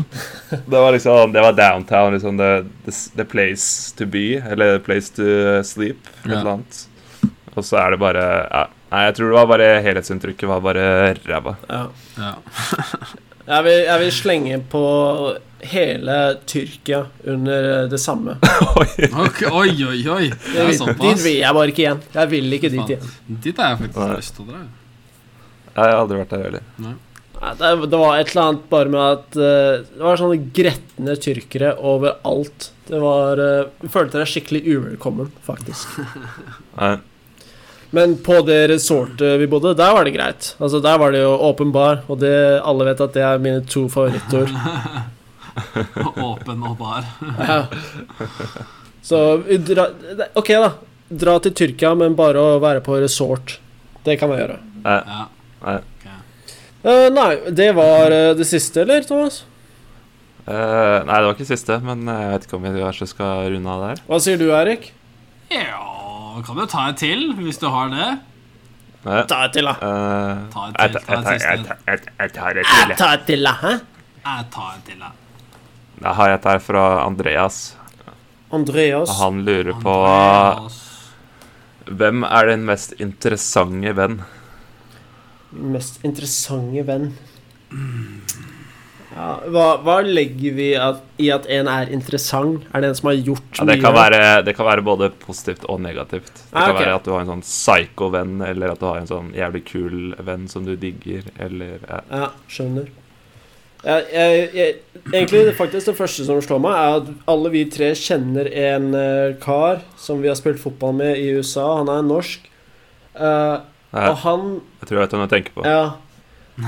Det var liksom Det var downtown, liksom the, the, the place to be, eller the place to sleep, et
Ja.
eller annet. Og så er det bare ja. Nei, jeg tror det var bare helhetsinntrykket var bare ræva.
Ja.
Ja.
Jeg, vil, jeg vil slenge på hele Tyrkia under det samme.
Ok, Oi, oi, oi. Det er
Jeg vil, dit
såpass.
vil jeg bare ikke igjen. Jeg vil ikke dit igjen.
Dit har jeg faktisk
Nei.
lyst til å dra.
Jeg har aldri vært der heller.
Nei, Det, det var et eller annet bare med at eh, Det var sånne gretne tyrkere overalt. Det var eh, jeg Følte deg skikkelig uvelkommen, faktisk.
Nei,
Men på det resortet vi bodde, der var det greit. Altså Der var det jo åpen bar, og det, alle vet at det er mine to favorittord.
Åpen og bar.
Ja. Så vi dra, det- Ok, da. Dra til Tyrkia, men bare å være på resort. Det kan man gjøre.
nei,
Ja.
nei.
Eh, nei, det var eh, det siste, eller, Thomas?
Eh, nei, det var ikke siste, men eh, jeg vet ikke om vi kanskje skal runde av der.
Hva sier du, Erik?
ja Kan du ta en til, hvis du har det?
Nei.
Ta et til, da.
eh,
Ta en
jeg
til,
ta-
ta en
jeg tar-
siste.
jeg tar- jeg tar- jeg tar et til. jeg.
Ta et til, da. Hæ?
Jeg tar en til, jeg.
Da har jeg et her fra Andreas.
Andreas.
Og han lurer på
Andreas.
hvem er din mest interessante venn?
Min mest interessante venn. Ja, hva, hva legger vi at, i at en er interessant? Er det en som har gjort
Ja, det,
mye?
kan være, det kan være både positivt og negativt. Det
Ah,
kan
ok.
være at du har en sånn psycho-venn, eller at du har en sånn jævlig kul venn som du digger, eller ja.
Ja, skjønner. Jeg, jeg, jeg, egentlig det, faktisk det første som slår meg, er at alle vi tre kjenner en eh, kar som vi har spilt fotball med i USA. Han er norsk. Eh,
Nei,
og han
Jeg tror jeg vet hvem du tenker på.
Ja.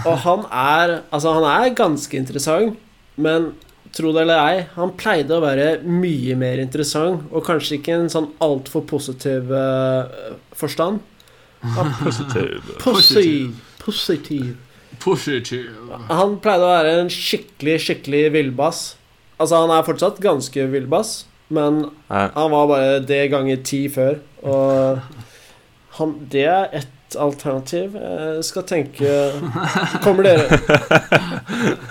Og han er Altså, han er ganske interessant, men tro det eller ei, han pleide å være mye mer interessant, og kanskje ikke i en sånn altfor positiv eh, forstand. Han-
Positiv.
Positiv. Positiv.
eh,
Positiv.
Han pleide å være en skikkelig, skikkelig villbass. Altså, han er fortsatt ganske villbass, men
Nei,
han var bare det ganger ti før. Og han, det er ett alternativ. Jeg skal tenke Kommer dere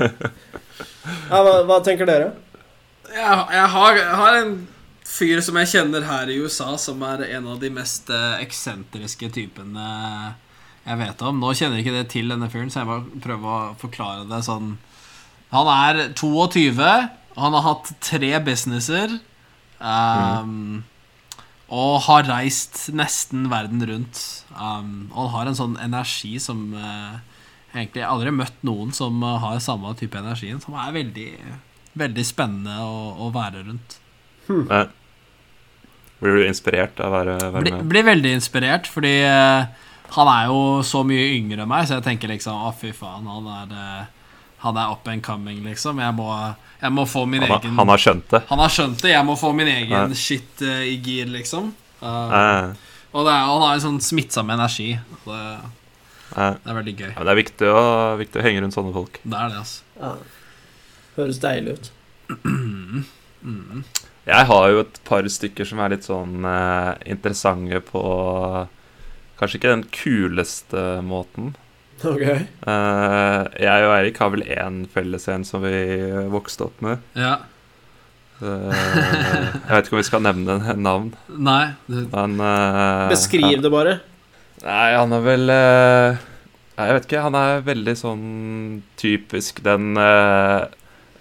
ja, hva, hva tenker dere?
Jeg, jeg, har, jeg har en fyr som jeg kjenner her i USA, som er en av de mest eh, eksentriske typene jeg vet om. Nå kjenner jeg ikke det til denne fyren, så jeg bare prøver å forklare det sånn. Han er 22, han har hatt tre businesser. ehm, Og har reist nesten verden rundt. Um, og han har en sånn energi som eh, jeg egentlig aldri har møtt noen som eh, har samme type energien, som er veldig Veldig spennende å, å være rundt.
nei. Blir du inspirert av å være, være
Blir,
med?
blir veldig inspirert, fordi eh, han er jo så mye yngre enn meg, så jeg tenker liksom Å, fy faen, han er, eh, han er up and coming, liksom. Jeg må, jeg må få min
Han, har-
egen
han har skjønt det.
Han har skjønt det. Jeg må få min egen
Nei.
shit eh, i gir, liksom. Eh,
Nei,
og det er, han har en sånn smittsom energi. og Det,
nei.
det er veldig gøy.
Ja, men det er viktig å, viktig å henge rundt sånne folk.
Det er det, altså.
Ja. Høres deilig ut.
Jeg har jo et par stykker som er litt sånn eh, interessante på Kanskje ikke den kuleste måten,
Ok.
Eh, jeg og Eirik har vel én felles en som vi vokste opp med.
Ja.
Eh, jeg vet ikke om vi skal nevne en- en navn,
Nei. Det,
men eh,
Beskriv det bare.
ja. Nei, han er vel eh, Nei, Jeg vet ikke. Han er veldig sånn typisk den eh,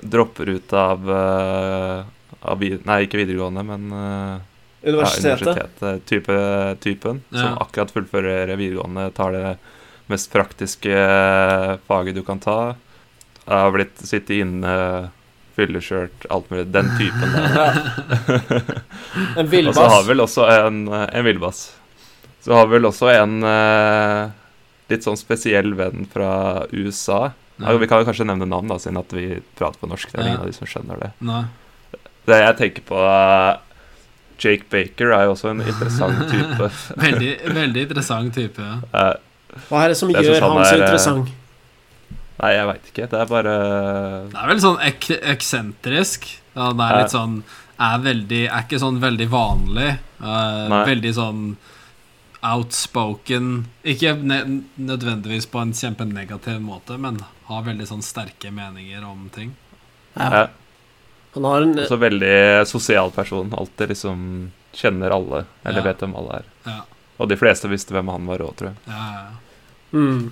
dropper ut av, eh, av vid Nei, ikke videregående, men eh, Ja,
Universitetet.
universitetet type, typen
Ja.
som akkurat fullfører videregående, tar det mest praktiske eh, faget du kan ta. Jeg har blitt sittet inne, fylleskjørt, alt mulig. Den typen der.
En
Og så har
villbass.
vel også en, eh, en villbass. Så har vel også en eh, litt sånn spesiell venn fra USA. Ja, vi kan jo kanskje nevne navn, da, siden at vi prater på norsk. Det er
Mm. Ja.
ingen av de som skjønner det.
Nei.
Det jeg tenker på eh, Jake Baker er jo også en interessant type.
Veldig, veldig interessant type. Ja.
Eh,
Hva er det som
Jeg synes
gjør
han
han så
er, eh,
interessant?
Nei, jeg veit ikke. Det er bare
Det er veldig sånn ek eksentrisk. Ja, det er litt sånn Er veldig Er ikke sånn veldig vanlig. eh,
Nei.
veldig sånn outspoken Ikke ne nødvendigvis på en kjempenegativ måte, men har veldig sånn sterke meninger om ting.
ja,
Han har en
Også veldig sosial person. Alltid liksom kjenner alle, eller
Ja.
vet hvem alle er.
Ja,
Og de fleste visste hvem han var òg, tror jeg.
ja, ja, ja.
mm.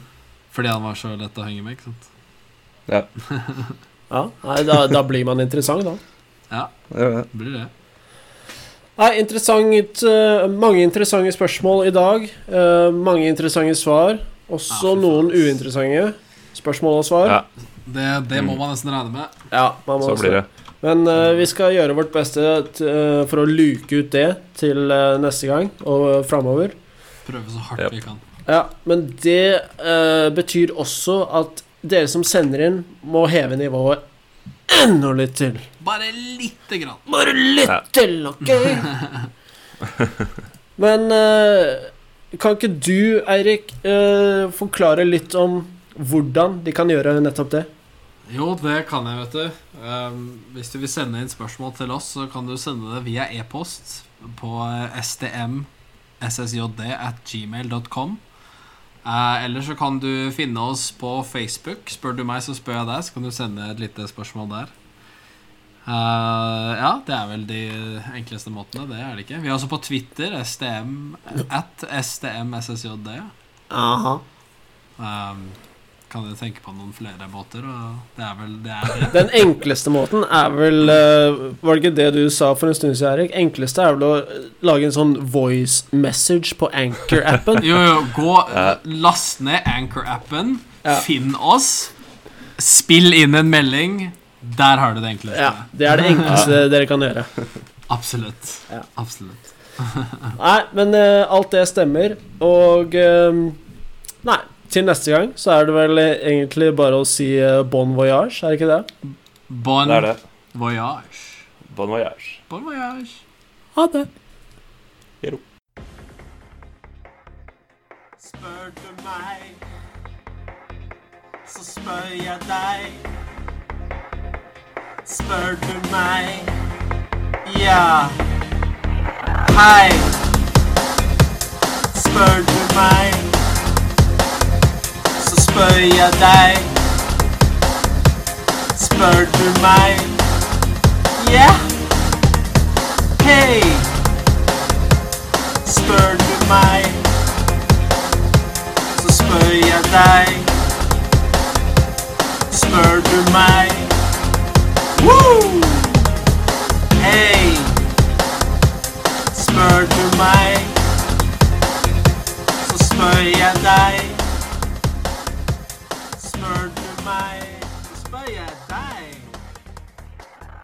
Fordi han var så lett å henge med, ikke sant?
Ja, nei, da, da blir man interessant, da.
Blir det.
Nei, interessant eh, Mange interessante spørsmål i dag. eh, mange interessante svar. Også
Ja, fy faen.
noen uinteressante spørsmål og svar.
Ja.
Det, det
Mm.
må man nesten regne med.
Ja, man må
Så
også-
Mm.
blir det.
Men eh, vi skal gjøre vårt beste t eh, for å luke ut det til eh, neste gang og uh, framover.
Prøve så hardt
Ja.
vi kan.
Ja, men det eh, betyr også at dere som sender inn, må heve nivået enda litt til.
Bare lite grann.
Bare litt
Ja.
til, OK? Men eh, kan ikke du, Eirik, eh, forklare litt om hvordan de kan gjøre nettopp det?
Jo, det kan jeg, vet du. Ehm, hvis du vil sende inn spørsmål til oss, så kan du sende det via e-post på eh, stmssjd.gmail.com. Uh, eller så kan du finne oss på Facebook. Spør du meg, så spør jeg deg. Så kan du sende et lite spørsmål der. Eh, ja, det er vel de enkleste måtene. Det er det ikke. Vi er også på Twitter. STM, at stmssjd.
Aha.
Ehm, kan du tenke på noen flere måter? Og det er vel det er det.
Den enkleste måten er vel eh, Var det ikke det du sa for en stund siden, Erik? Enkleste er vel å eh, lage en sånn voice message på Anchor-appen.
Jo, jo, gå
Ja.
Last ned Anchor-appen
Ja.
Finn oss Spill inn en melding Der har du det enkleste
Ja, det er det enkleste dere kan gjøre.
Absolutt
Ja.
Absolutt
Nei, men eh, alt det stemmer, og eh, Nei, til neste gang så er det vel eh, egentlig bare å si eh, bon voyage, er det ikke det?
Bon
Det er det.
voyage
Bon voyage.
Bon voyage
Ha det.
Spør du meg, så spør jeg deg. Spør du meg, ja. Hei. Spør du meg, så spør jeg deg. Spør du meg, ja. Hei. Spør du meg så spør jeg deg. Spør du meg? Woo! Hei! Spør du meg, så spør jeg deg.